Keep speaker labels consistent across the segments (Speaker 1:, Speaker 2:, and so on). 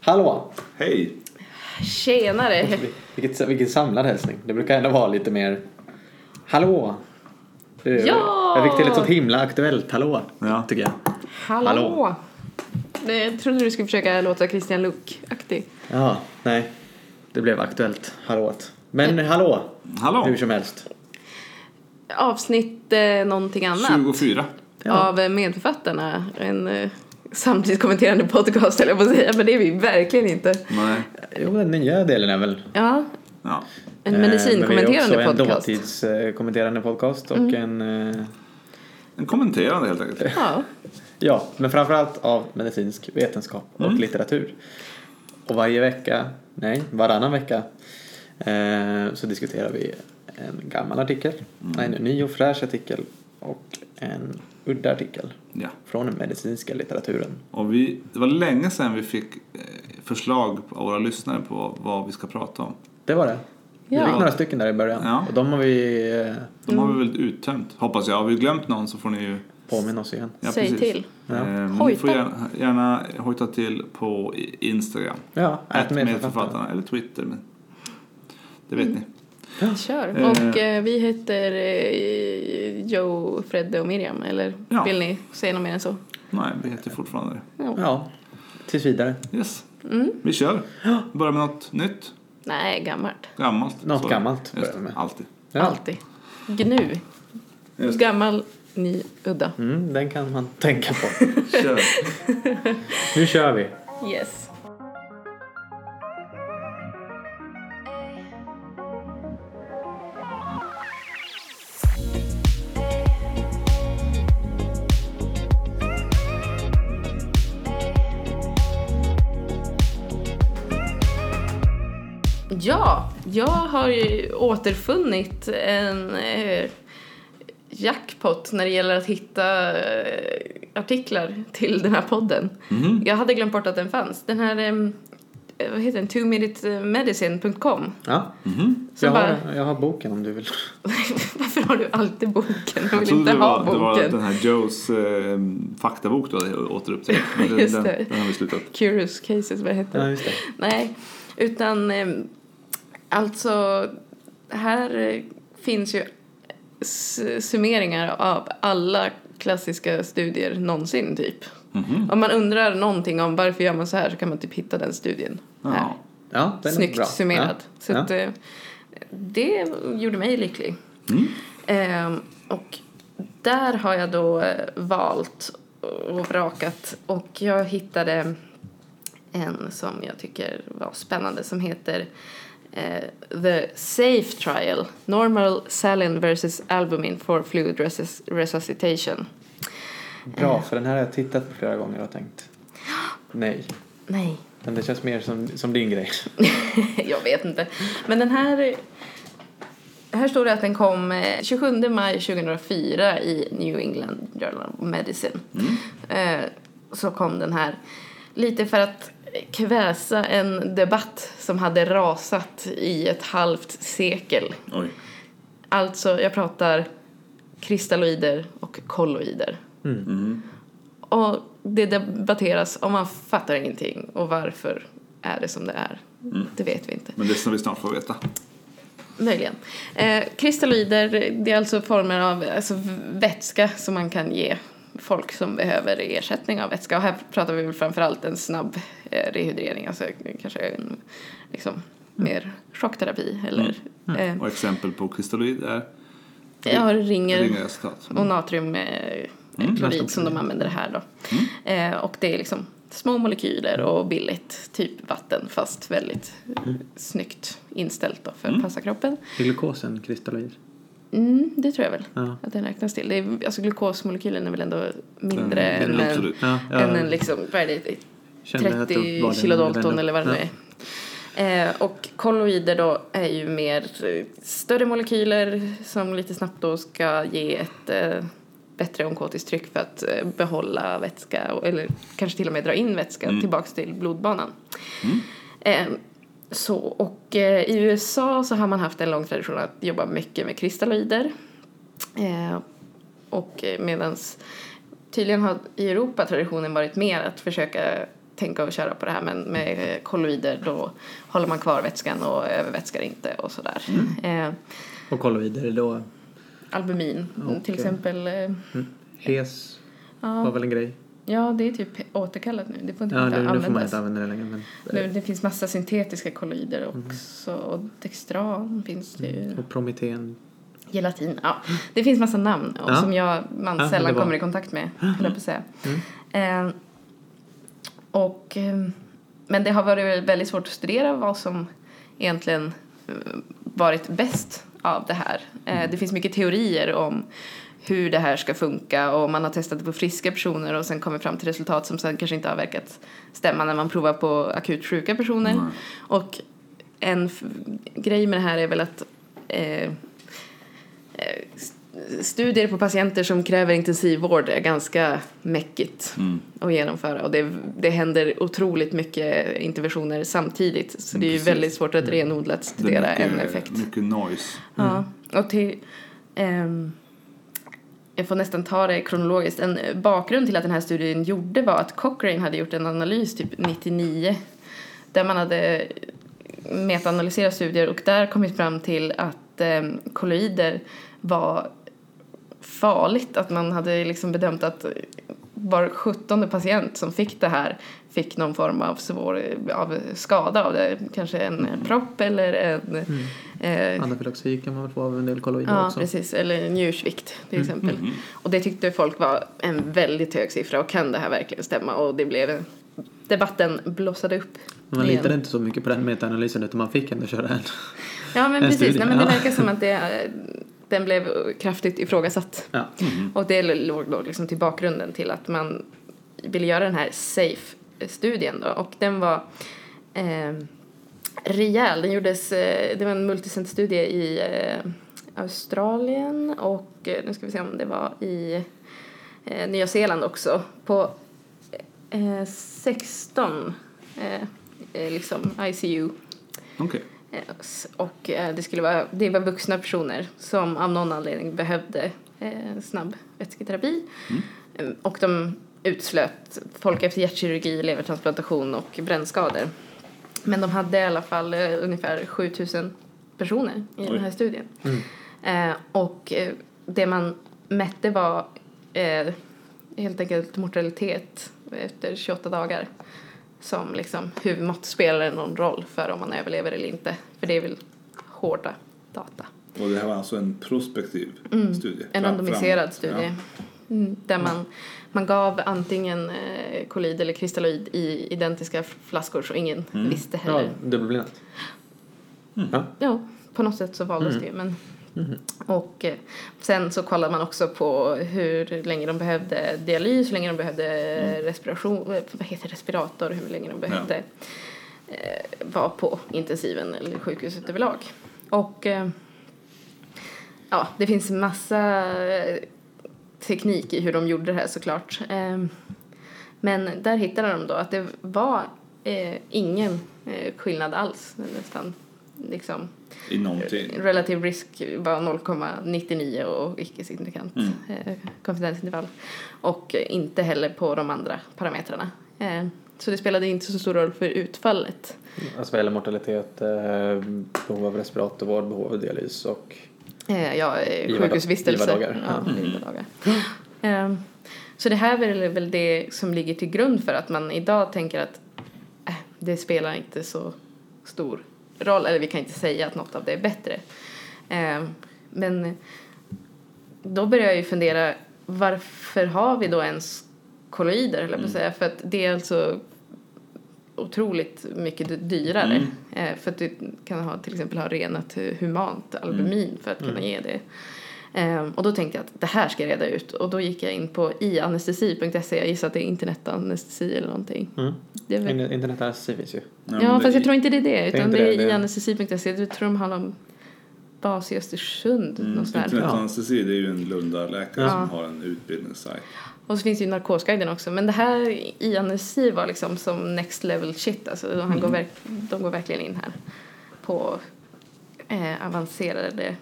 Speaker 1: Hallå!
Speaker 2: Hej!
Speaker 3: Tjenare!
Speaker 1: Vilket, vilket samlad hälsning. Det brukar ändå vara lite mer Hallå! Det är-
Speaker 3: Ja!
Speaker 1: Jag fick till ett sånt himla aktuellt hallå,
Speaker 2: Ja.
Speaker 1: tycker jag.
Speaker 3: Hallå!
Speaker 1: Hallå.
Speaker 3: Det, jag trodde du skulle försöka låta Christian Luuk-aktig.
Speaker 1: Ja, nej. Det blev aktuellt hallåt. Men
Speaker 3: Eh.
Speaker 1: hallå!
Speaker 2: Hallå!
Speaker 1: Hur som helst.
Speaker 3: Avsnitt eh, någonting annat
Speaker 2: 24.
Speaker 1: Ja.
Speaker 3: av eh, Medförfattarna. En eh, samtidigt kommenterande podcast eller jag på att säga, men det är vi verkligen inte.
Speaker 2: Nej.
Speaker 1: Jo, den nya delen är väl...
Speaker 3: Ja,
Speaker 2: Ja.
Speaker 3: en
Speaker 1: eh,
Speaker 3: medicinkommenterande
Speaker 1: men vi är också
Speaker 3: podcast. Mm.
Speaker 1: en dåtidskommenterande podcast och en... eh,
Speaker 2: En kommenterande helt enkelt.
Speaker 3: Ja,
Speaker 1: Ja, men framförallt av medicinsk vetenskap och
Speaker 2: Mm.
Speaker 1: litteratur. Och varje vecka, nej, varannan vecka eh, så diskuterar vi en gammal artikel,
Speaker 2: Mm.
Speaker 1: en ny och fräsch artikel och en udda artikel
Speaker 2: Ja.
Speaker 1: från den medicinska litteraturen.
Speaker 2: Och vi, det var länge sedan vi fick eh, förslag av våra lyssnare på vad, vad vi ska prata om.
Speaker 1: Det var det.
Speaker 3: Ja.
Speaker 1: Vi fick några stycken där i början
Speaker 2: Ja.
Speaker 1: och de har vi eh,
Speaker 2: De har
Speaker 3: Mm.
Speaker 2: vi väl uttömt, hoppas jag. Har vi glömt någon så får ni ju...
Speaker 1: påminn oss igen.
Speaker 3: Säg till.
Speaker 2: Ja. Eh, men ni
Speaker 3: Hojta.
Speaker 2: får gärna, gärna hojta till på i- Instagram.
Speaker 1: Ja,
Speaker 2: Ät
Speaker 1: ät med författarna.
Speaker 2: medförfattarna. Eller Twitter. Men det
Speaker 3: Mm.
Speaker 2: vet ni.
Speaker 3: kör.
Speaker 2: Eh.
Speaker 3: Och eh, vi heter eh, Joe, Fredde och Miriam, eller
Speaker 2: Ja.
Speaker 3: vill ni säga något mer än så?
Speaker 2: Nej, vi heter fortfarande det.
Speaker 3: Ja.
Speaker 1: Ja, tills vidare.
Speaker 2: Yes.
Speaker 3: Mm.
Speaker 2: Vi kör. Börja med något nytt.
Speaker 3: Nej, gammalt.
Speaker 2: Gammalt.
Speaker 1: Något
Speaker 2: Så-
Speaker 1: gammalt
Speaker 2: Just
Speaker 1: börjar vi
Speaker 2: det.
Speaker 1: med.
Speaker 2: Alltid.
Speaker 1: Ja.
Speaker 3: Alltid. Gnu.
Speaker 2: Just
Speaker 3: Gammal, ny, udda.
Speaker 1: Mm, den kan man tänka på.
Speaker 2: Kör.
Speaker 1: nu kör vi!
Speaker 3: Yes. Ja, jag har ju återfunnit en eh, jackpot när det gäller att hitta eh, artiklar till den här podden.
Speaker 2: Mhm.
Speaker 3: Jag hade glömt bort att den fanns. Den här, em, eh, vad heter den, twominutemedicine.com.
Speaker 1: Ja.
Speaker 4: Mhm.
Speaker 3: Så
Speaker 1: Jag
Speaker 3: bara,
Speaker 1: har, jag har boken om du vill.
Speaker 3: varför har du alltid boken? Jag
Speaker 2: Jag
Speaker 3: vill
Speaker 2: trodde
Speaker 3: inte
Speaker 2: det
Speaker 3: ha
Speaker 2: var, det var
Speaker 3: boken.
Speaker 2: den här Joes eh, faktabok du hade återupptäckt. Men den,
Speaker 3: Just
Speaker 2: den,
Speaker 3: det.
Speaker 2: den har vi slutat.
Speaker 3: Curious Cases, vad heter
Speaker 1: Ja,
Speaker 3: den?
Speaker 1: just det.
Speaker 3: Nej, utan em, alltså här eh, finns ju s- summeringar av alla klassiska studier någonsin typ.
Speaker 4: Mhm.
Speaker 3: Om man undrar någonting om varför gör man så här så kan man typ hitta den studien här.
Speaker 2: Ja.
Speaker 1: Ja, den är
Speaker 3: Snyggt
Speaker 1: bra.
Speaker 3: summerad.
Speaker 1: Ja.
Speaker 3: Så
Speaker 1: ja.
Speaker 3: Att, eh, det gjorde mig lycklig.
Speaker 1: Mm.
Speaker 3: Ehm, och där har jag då eh, valt och vrakat och jag hittade en som jag tycker var spännande som heter eh, The Safe Trial Normal Saline versus Albumin for Fluid resus- Resuscitation. eh,
Speaker 1: Bra, för den här har jag tittat på flera gånger och tänkt nej.
Speaker 3: Nej,
Speaker 1: Men det känns mer som, som din grej.
Speaker 3: jag vet inte. Men den här... Här står det att den kom eh, 27 maj 2004 i New England Journal of Medicine. Eh, Så kom den här lite för att kväsa en debatt som hade rasat i ett halvt sekel.
Speaker 2: Oj.
Speaker 3: Alltså, jag pratar kristalloider och kolloider. Och det debatteras och man fattar ingenting. Och varför är det som det är? Det vet vi inte.
Speaker 2: Men det ska vi snart få veta.
Speaker 3: Möjligen. Eh, kristalloider, det är alltså former av alltså, vätska som man kan ge folk som behöver ersättning av vätska. Och här pratar vi väl framförallt en snabb eh, rehydrering, alltså kanske en, liksom, mer chockterapi eller eh,
Speaker 2: Och exempel på kristalloid är
Speaker 3: ja, ringer Mm.
Speaker 2: ringa resultat.
Speaker 3: och natriumklorid som de använder här då. Eh, och det är liksom små molekyler och billigt, typ vatten fast väldigt mm. snyggt inställt då för att passa kroppen.
Speaker 1: Glukosen kristalloid.
Speaker 3: Mm, det tror jag väl
Speaker 1: Ja.
Speaker 3: att den räknas till. Det är, alltså glukosmolekylen är väl ändå mindre
Speaker 2: Den- den är
Speaker 3: än, en,
Speaker 2: absolut.
Speaker 1: Ja, jag
Speaker 3: än en liksom, vad är det,
Speaker 1: kände att det var
Speaker 3: 30
Speaker 1: den-
Speaker 3: kilodalton
Speaker 1: den-
Speaker 3: eller vad det nu är. Eh, och kolloider då är ju mer eh, större molekyler som lite snabbt då ska ge ett eh, bättre onkotiskt tryck för att eh, behålla vätska och- eller kanske till och med dra in vätska
Speaker 1: Mm.
Speaker 3: tillbaks till blodbanan. Eh, så, och eh, i USA så har man haft en lång tradition att jobba mycket med kristalloider. Eh, och medan tydligen har i Europa traditionen varit mer att försöka tänka och köra på det här men med eh, kolloider då håller man kvar vätskan och övervätskar inte och sådär.
Speaker 1: Mm.
Speaker 3: Eh,
Speaker 1: Och kolloider då.
Speaker 3: albumin
Speaker 1: Okej.
Speaker 3: till exempel. Eh,
Speaker 1: Hes var
Speaker 3: ja,
Speaker 1: väl en grej.
Speaker 3: ja, det är typ återkallat nu. Det får inte
Speaker 1: Ja, nu,
Speaker 3: användas.
Speaker 1: nu får man inte använda Mm. det längre. Men,
Speaker 3: Nu, det finns massa syntetiska kolloider också. Och Dextran finns det ju.
Speaker 1: Och prometen.
Speaker 3: Gelatin, ja. Det finns massa namn och
Speaker 1: Ja.
Speaker 3: som jag, man
Speaker 1: Ja, Mm.
Speaker 3: sällan
Speaker 1: det var-
Speaker 3: kommer i kontakt med, höll jag på att säga. Eh, och, eh, men det har varit väldigt svårt att studera vad som egentligen eh, varit bäst av det här.
Speaker 1: Mm.
Speaker 3: Eh, det finns mycket teorier om hur det här ska funka och man har testat det på friska personer och sen kommit fram till resultat som sen kanske inte har verkat stämma när man provar på akut sjuka personer.
Speaker 2: Nej.
Speaker 3: Och en f- grej med det här är väl att eh, eh, st- studier på patienter som kräver intensivvård är ganska mäckigt
Speaker 2: Mm.
Speaker 3: att genomföra och det, det händer otroligt mycket interventioner samtidigt så det är ju
Speaker 2: Precis. Mm.
Speaker 3: väldigt svårt att renodlat studera
Speaker 2: Det är
Speaker 3: en
Speaker 2: mycket-
Speaker 3: effekt.
Speaker 2: Mycket noise.
Speaker 3: Ja, och till... ehm, jag får nästan ta det kronologiskt. En eh, bakgrund till att den här studien gjorde var att Cochrane hade gjort en analys typ 99 där man hade eh, metaanalyserat studier och där kommit fram till att um, kolloider var farligt. Att man hade liksom bedömt att var 17 patient som fick det här fick någon form av svår eh, av skada av det. Kanske en propp eller en eh,
Speaker 1: Anafylaxi kan man väl få av en del kolloider
Speaker 3: Ja,
Speaker 1: också.
Speaker 3: precis. Eller njursvikt till exempel. Och det tyckte folk var en väldigt hög siffra och kan det här verkligen stämma? Och det blev debatten blossade upp.
Speaker 1: Man
Speaker 3: igen.
Speaker 1: litade inte så mycket på den metaanalysen utan man fick ändå köra en.
Speaker 3: Ja, men
Speaker 1: en
Speaker 3: precis.
Speaker 1: studie,
Speaker 3: Nej, men det
Speaker 1: ja.
Speaker 3: verkar som att det, eh, den blev kraftigt ifrågasatt.
Speaker 1: Ja. Mm.
Speaker 3: Och det låg då liksom till bakgrunden till att man ville göra den här SAFE-studien då. Och den var eh, rejäl. Den gjordes, eh, det var en multicenterstudie i eh, Australien och eh, nu ska vi se om det var i eh, Nya Zeeland också. På eh, 16 eh, eh, liksom ICU
Speaker 2: Okej.
Speaker 3: S- Och eh, det, skulle vara, det var vuxna personer som av någon anledning behövde eh, snabb vätsketerapi. Eh, Och de utslöt folk efter hjärtkirurgi, levertransplantation och brännskador. Men de hade i alla fall eh, ungefär 7000 personer i den här studien.
Speaker 4: Mm.
Speaker 3: Eh, och eh, det man mätte var eh, helt enkelt mortalitet efter 28 dagar som liksom huvudmått spelar någon roll för om man överlever eller inte. För det är väl hårda data.
Speaker 4: Och det här var alltså en prospektiv studie?
Speaker 3: Mm. En
Speaker 4: Fram-
Speaker 3: randomiserad
Speaker 4: framåt.
Speaker 3: studie. Mm, Där man, man gav antingen eh, kolid eller kristalloid i identiska flaskor så ingen
Speaker 4: Mm.
Speaker 3: visste heller.
Speaker 1: Ja, dubbelblindat. Ja.
Speaker 3: Ja, på något sätt så valdes det ju. Men... Och eh, sen så kollade man också på hur länge de behövde dialys, hur länge de behövde respiration, eh, vad heter respirator, hur länge de behövde eh, vara på intensiven eller sjukhuset överlag. Och eh, ja, det finns massa eh, teknik i hur de gjorde det här såklart. Eh, men där hittade de då att det var eh, ingen eh, skillnad alls nästan. Liksom,
Speaker 4: I
Speaker 2: Typ.
Speaker 4: någonting.
Speaker 3: relative risk var 0,99 och icke-signifikant eh, konfidensintervall. Och eh, inte heller på de andra parametrarna. Eh, så det spelade inte så stor roll för utfallet.
Speaker 1: Alltså vad gäller mortalitet, eh, behov av respiratorvård, behov av dialys och
Speaker 3: Eh, ja, eh,
Speaker 1: Givardag-
Speaker 3: sjukhusvistelse.
Speaker 1: givardagar.
Speaker 3: Ja, givardagar. Ehm, så det här är väl det som ligger till grund för att man idag tänker att äh, det spelar inte så stor roll, eller vi kan inte säga att något av det är bättre. Ehm, men då börjar jag ju fundera, varför har vi då ens kolloider, höll jag på att säga, för att det är alltså otroligt mycket dy- dyrare. Eh, för att du kan ha, till exempel ha renat hu- humant albumin för att kunna ge det. Ehm, och då tänkte jag att det här ska jag reda ut och då gick jag in på ianestesi.se, jag gissar att det är internetanestesi eller någonting.
Speaker 1: Mm.
Speaker 3: Det är väl...
Speaker 1: In- internetanestesi finns ju.
Speaker 4: men
Speaker 3: Ja,
Speaker 4: det-
Speaker 3: fast jag tror inte det är det, utan
Speaker 1: inte
Speaker 3: det är
Speaker 1: det, det är-
Speaker 3: ianestesi.se, jag tror de handlar om bas i Östersund,
Speaker 2: Mm,
Speaker 3: något sånt där.
Speaker 4: Internetanestesi, Mm, det är ju en Lundaläkare
Speaker 3: Ja.
Speaker 4: som har en utbildningssajt.
Speaker 3: Och så finns ju narkosguiden också. Men det här i anestesi var liksom som next level shit. Alltså, han går verk, de går verkligen in här på eh, avancerade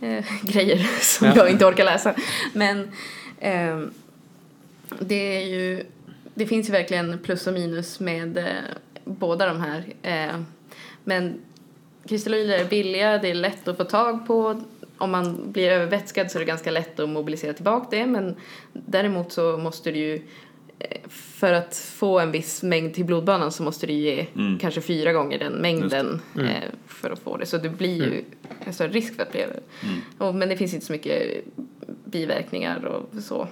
Speaker 3: eh, grejer som
Speaker 1: Ja.
Speaker 3: jag inte orkar läsa. Men ehm, det är ju det finns ju verkligen plus och minus med eh, båda de här. Eh, men kristalloider är billiga, det är lätt att få tag på. Om man blir övervätskad så är det ganska lätt att mobilisera tillbaka det men däremot så måste du ju eh, för att få en viss mängd till blodbanan så måste du ge kanske fyra gånger den mängden eh, för att få det. Så det blir ju en större risk för att bli över. Och, men det finns inte så mycket biverkningar och så.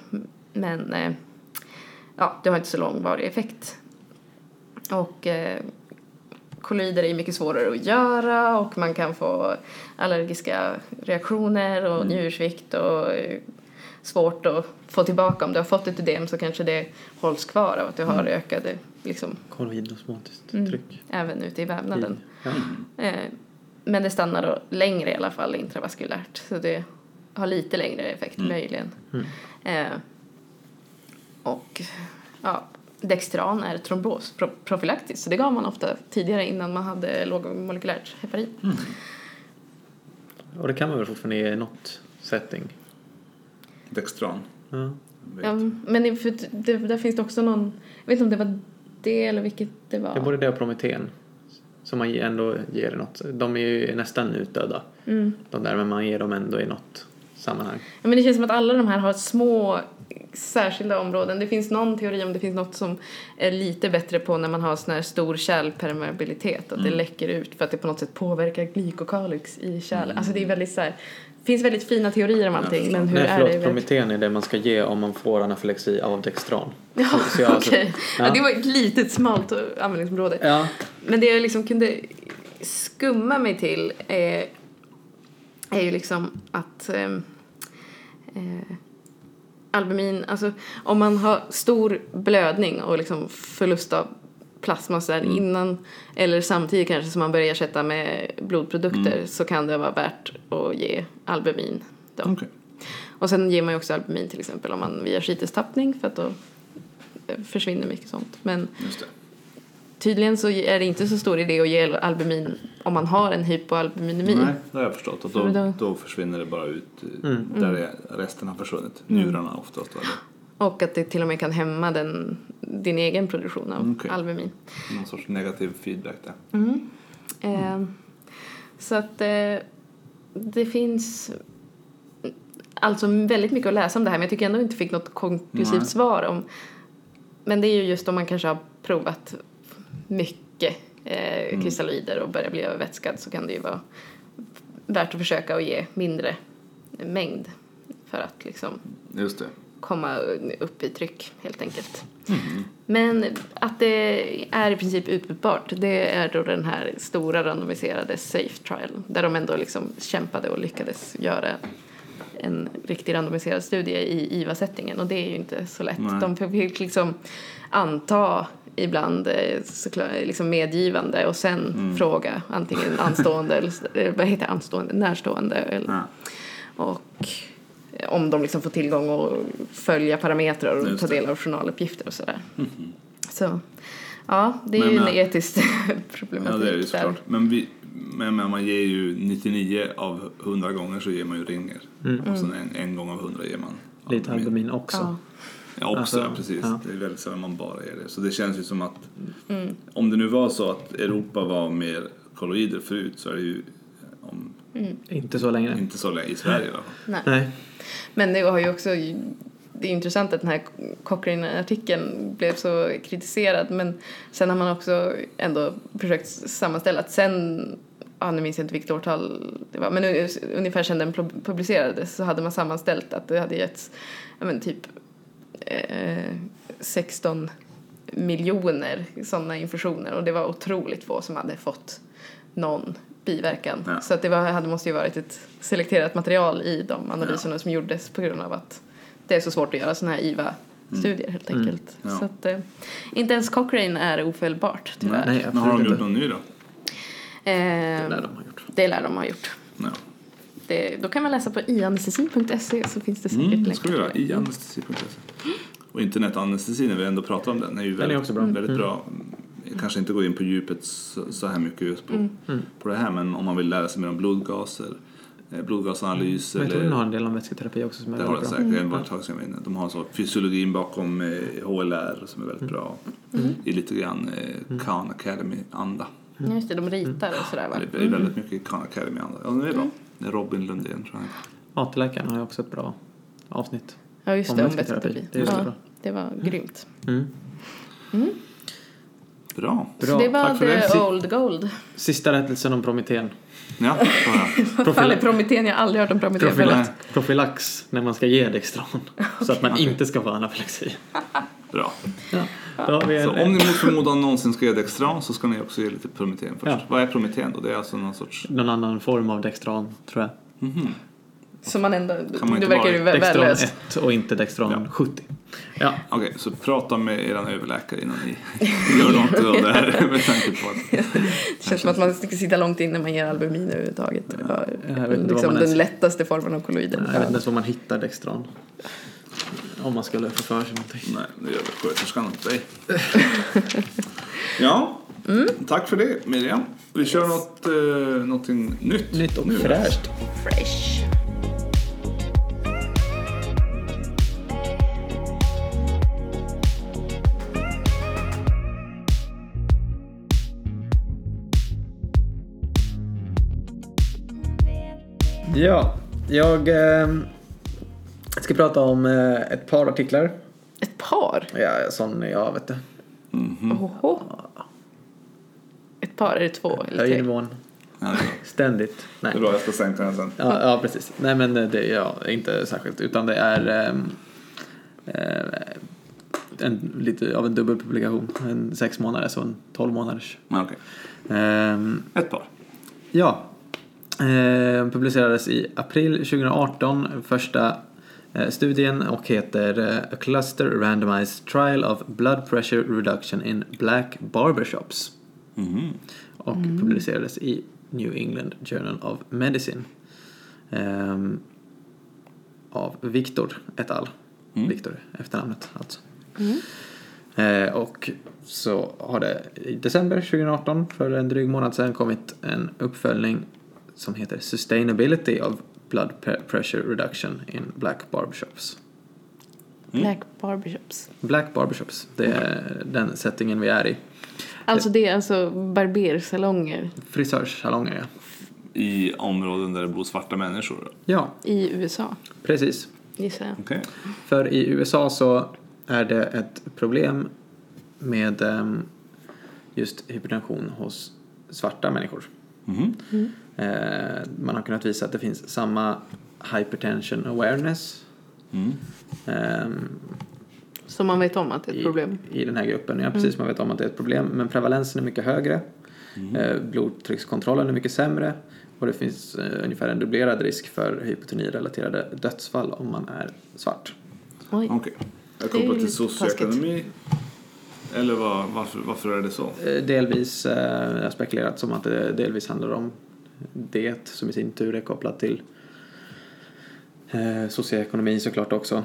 Speaker 3: Men eh, ja, det har inte så långvarig effekt. Och eh, kolloider är mycket svårare att göra och man kan få allergiska reaktioner och njursvikt och eh, svårt att få tillbaka. Om du har fått ett ödem så kanske det hålls kvar av att du har ökade liksom,
Speaker 1: Kolloid osmotiskt
Speaker 3: Mm.
Speaker 1: tryck.
Speaker 3: även ute i vävnaden.
Speaker 1: Ja.
Speaker 3: Eh, Men det stannar då längre i alla fall intravaskulärt. Så det har lite längre effekt
Speaker 1: Mm.
Speaker 3: möjligen. Eh, Och ja, Dextran är trombos pro- profylaktiskt. Så det gav man ofta tidigare innan man hade lågmolekylärt heparin.
Speaker 1: Mm. Och det kan man väl fortfarande i något setting?
Speaker 4: Dextran.
Speaker 1: Ja.
Speaker 4: Vet.
Speaker 3: Ja, men i- för det, där finns det också någon, jag vet inte om det var det eller vilket det var.
Speaker 1: Det är både det och Prometen. Som man ändå ger i något. De är ju nästan utdöda.
Speaker 3: Mm.
Speaker 1: De där, men man ger dem ändå i något sammanhang.
Speaker 3: Ja, men det känns som att alla de här har små särskilda områden. Det finns någon teori om det finns något som är lite bättre på när man har sån här stor kärlpermeabilitet. Att
Speaker 1: Mm.
Speaker 3: det läcker ut för att det på något sätt påverkar glykokalix i kärlen. Alltså det är väldigt så här, det finns väldigt fina teorier om allting men hur
Speaker 1: Nej Mm. förlåt,
Speaker 3: är det? i verkligheten?
Speaker 1: Prometen är det man ska ge om man får anafylaxi av Dextran.
Speaker 3: Ja,
Speaker 1: Så jag- alltså-
Speaker 3: okej. Ja.
Speaker 1: ja.
Speaker 3: det var ett litet smalt eh, användningsområde.
Speaker 1: Ja,
Speaker 3: Men det jag liksom kunde skumma mig till är, är ju liksom att ehm, eh, albumin, alltså om man har stor blödning och liksom förlust av plasma så där innan eller samtidigt kanske som man börjar ersätta med blodprodukter så kan det vara värt att ge albumin då.
Speaker 2: Okej.
Speaker 3: Och sen ger man ju också albumin till exempel om man via skitestappning för att då eh, försvinner mycket sånt. Men
Speaker 4: Just det.
Speaker 3: Tydligen så är det inte så stor idé att ge albumin om man har en hypoalbuminemi.
Speaker 2: Nej, det har jag förstått. Att
Speaker 3: För
Speaker 2: då,
Speaker 3: då-
Speaker 2: då försvinner det bara ut eh,
Speaker 1: Mm.
Speaker 2: där det- resten har försvunnit. Njurarna oftast. va?
Speaker 3: Och att det till och med kan hämma den, din egen produktion av
Speaker 2: Mm, Okej.
Speaker 3: albumin.
Speaker 2: Någon sorts negativ feedback där.
Speaker 3: Eh, så att eh, det finns alltså väldigt mycket att läsa om det här men jag tycker ändå inte fick något konklusivt
Speaker 2: Nej.
Speaker 3: svar om. Men det är ju just om man kanske har provat mycket eh, kristalloider och börjar bli övervätskad så kan det ju vara värt att försöka och ge mindre mängd för att liksom
Speaker 2: Just det.
Speaker 3: komma upp i tryck helt enkelt. Men att det är i princip utbytbart det är då den här stora randomiserade safe trial där de ändå liksom kämpade och lyckades göra en riktig randomiserad studie i IVA-sättningen och det är ju inte så lätt.
Speaker 2: Nej.
Speaker 3: De fick liksom anta ibland eh, såklart, liksom medgivande och sen fråga antingen anstående eller eh, vad heter det? anstående, närstående eller
Speaker 2: Ja.
Speaker 3: och om de liksom får tillgång och följa parametrar och
Speaker 2: Just
Speaker 3: ta
Speaker 2: det. Mhm.
Speaker 3: del av journaluppgifter och sådär. Så ja, det är
Speaker 2: Men,
Speaker 3: ju en
Speaker 2: eh,
Speaker 3: etisk
Speaker 2: Ja,
Speaker 3: problematik
Speaker 2: det är det ju
Speaker 3: där.
Speaker 2: såklart. Men, vi, men, men man ger ju 99 av 100 gånger så ger man ju ringer. Och sen en, en gång av 100 ger man
Speaker 1: Mm. lite albumin också.
Speaker 3: Ja.
Speaker 2: Ja, också.
Speaker 1: Alltså,
Speaker 2: ja, precis.
Speaker 1: ja.
Speaker 2: Det är väldigt sällan man bara ger det.
Speaker 4: Så det känns ju som att om det nu var så att Europa var mer kolloider förut så är det ju om,
Speaker 1: Inte så längre.
Speaker 4: inte så länge i Sverige i alla fall.
Speaker 3: Nej.
Speaker 1: Nej.
Speaker 3: Men det har ju också det är intressant att den här Cochrane-artikeln blev så kritiserad men sen har man också ändå försökt sammanställa att sen ja, nu minns jag inte vilket årtal det var men un- ungefär sen den pub- publicerades så hade man sammanställt att det hade getts ja, men typ eh, 16 miljoner sådana infusioner och det var otroligt få som hade fått någon biverkan.
Speaker 4: Ja.
Speaker 3: Så att det var, hade, måste ju varit ett selekterat material i de analyserna som gjordes på grund av att det är så svårt att göra sådana här IVA-studier helt enkelt.
Speaker 2: Ja.
Speaker 3: Så att, eh, inte ens Cochrane är ofelbart tyvärr.
Speaker 1: Nej,
Speaker 2: men har
Speaker 1: absolut
Speaker 2: de gjort
Speaker 1: inte.
Speaker 2: någon ny då?
Speaker 3: Eh,
Speaker 1: Nej, de har gjort.
Speaker 3: det lär de ha gjort.
Speaker 2: Ja.
Speaker 3: Det, då kan man läsa på ianestesi.se så finns det säkert
Speaker 2: Mm, det
Speaker 3: länkar
Speaker 2: ska vi göra.
Speaker 3: till det.
Speaker 2: I anestesi.se. Och internetanestesi när vi ändå pratar om den är ju väldigt,
Speaker 1: är också bra.
Speaker 2: väldigt
Speaker 3: Mm.
Speaker 2: bra. Jag kanske inte
Speaker 3: Mm.
Speaker 1: Mm.
Speaker 2: går in på djupet så, så här mycket just på, på det här men om man vill lära sig mer om blodgaser eh, blodgasanalys.
Speaker 1: Men jag tror
Speaker 2: eller-
Speaker 1: den har en del om vätsketerapi också som är
Speaker 2: Det har
Speaker 1: väldigt
Speaker 2: den
Speaker 1: bra. Mm.
Speaker 2: säkert. Det var ett tag sedan jag var inne. De har så fysiologin bakom eh, HLR som är
Speaker 1: Mm.
Speaker 2: väldigt bra.
Speaker 3: Mm.
Speaker 2: I lite grann eh, Khan Academy-anda.
Speaker 3: Ja, Just det, Mm. de ritar och sådär va?
Speaker 2: Det är väldigt mycket Khan Academy-anda. Ja, det är bra. Det är Robin Lundén tror jag.
Speaker 1: AT-läkaren Mm. har ju också ett bra avsnitt.
Speaker 3: Ja just
Speaker 1: Om
Speaker 3: det, om
Speaker 1: vätsketerapi.
Speaker 3: vätsketerapi.
Speaker 1: Det är
Speaker 3: ja,
Speaker 1: jättebra.
Speaker 3: det var grymt.
Speaker 1: Mm.
Speaker 2: Bra.
Speaker 1: Bra,
Speaker 3: Så det var
Speaker 1: tack för
Speaker 3: the
Speaker 1: det. Si-
Speaker 3: old gold.
Speaker 1: Sista rättelsen om Prometen.
Speaker 2: Ja, så ja.
Speaker 3: Vad fan är Prometen? Jag har aldrig hört om Prometen förut.
Speaker 1: Profilax, profilax när man ska ge Dextran. Så att man inte ska få anafylaxi.
Speaker 2: bra.
Speaker 1: Ja. Då har vi
Speaker 2: Så
Speaker 1: en,
Speaker 2: om ni mot förmodan någonsin ska göra Dextran så ska ni också ge lite Prometen först.
Speaker 1: Ja.
Speaker 2: Vad är Prometen då? Det är alltså någon sorts...
Speaker 1: någon annan form av Dextran tror jag.
Speaker 3: Så man ändå,
Speaker 2: man
Speaker 3: det
Speaker 2: inte
Speaker 3: verkar
Speaker 2: vara
Speaker 3: ju vä-
Speaker 1: Dextran
Speaker 3: värdelöst.
Speaker 1: 1 och inte Dextran 70. Ja.
Speaker 2: Okej, så prata med er överläkare innan ni gör något av det här. Med tanke på att...
Speaker 3: Det känns som att man ska sitta långt in när man ger albumin överhuvudtaget. Det var
Speaker 1: jag vet inte vad man
Speaker 3: liksom den
Speaker 1: ens-
Speaker 3: lättaste formen av kolloider.
Speaker 1: Jag vet inte ens var man hittar Dextran. Om man skulle få för sig någonting.
Speaker 2: Nej, nu gör vi sköterskan åt dig. ja, tack för det Miriam. Vi kör något, eh, någonting nytt.
Speaker 1: Nytt och
Speaker 2: nu.
Speaker 1: fräscht.
Speaker 3: Fresh.
Speaker 1: Ja, jag eh, ska prata om eh, ett par artiklar.
Speaker 3: Ett par?
Speaker 1: Ja, sån är jag vet du.
Speaker 2: Mhm.
Speaker 3: Oho. Ett par? Är det två eller
Speaker 1: Jag är i
Speaker 3: tre?
Speaker 1: nivån
Speaker 2: Ja, det är bra.
Speaker 1: ständigt. Nej.
Speaker 2: Det är bra, jag ska sänka den sen.
Speaker 1: Ja, ja precis. Nej men eh, det är jag inte särskilt. Utan det är ehm, eh, en, lite av en dubbel publikation. En sex månaders och en tolv månaders.
Speaker 2: Ja, okej.
Speaker 1: Ehm,
Speaker 2: Ett par.
Speaker 1: ja. Ehm, publicerades i april 2018. Första eh, studien och heter eh, A Cluster Randomized Trial of Blood Pressure Reduction in Black Barbershops. Och publicerades i New England Journal of Medicine. Ehm, av Victor et al. Victor efternamnet alltså. Eh, och så har det i december 2018 för en dryg månad sedan kommit en uppföljning som heter Sustainability of Blood Pe- Pressure Reduction in Black Barbershops. Mm.
Speaker 3: Black barbershops.
Speaker 1: Black Barbershops, det är den settingen vi är i.
Speaker 3: Alltså det är alltså barbersalonger
Speaker 1: Frisörssalonger ja.
Speaker 2: I områden där det bor svarta människor.
Speaker 1: Ja,
Speaker 3: i USA,
Speaker 1: precis.
Speaker 3: gissar jag.
Speaker 2: Okej.
Speaker 1: För i USA så är det ett problem med ehm, just hypertension hos svarta människor.
Speaker 2: Mhm.
Speaker 1: Eh, Man har kunnat visa att det finns samma hypertension awareness
Speaker 2: Mm.
Speaker 1: ehm,
Speaker 3: Så man vet om att det är
Speaker 1: i,
Speaker 3: ett problem. Mm.
Speaker 1: i den här gruppen. Ja, precis, man vet om att det är ett problem. Men prevalensen är mycket högre.
Speaker 2: Mm.
Speaker 1: Eh, Blodtryckskontrollen är mycket sämre. Och det finns eh, ungefär en dubblerad risk för hypotonirelaterade dödsfall om man är svart.
Speaker 3: Oj.
Speaker 2: Okej. Jag
Speaker 3: Det är
Speaker 2: kopplar
Speaker 3: ju
Speaker 2: till
Speaker 3: lite taskigt.
Speaker 2: socioekonomi. Eller vad, varför, varför är det så?
Speaker 1: Eh, Delvis eh, har spekulerat som att det delvis handlar om det som i sin tur är kopplat till eh, socioekonomin såklart också.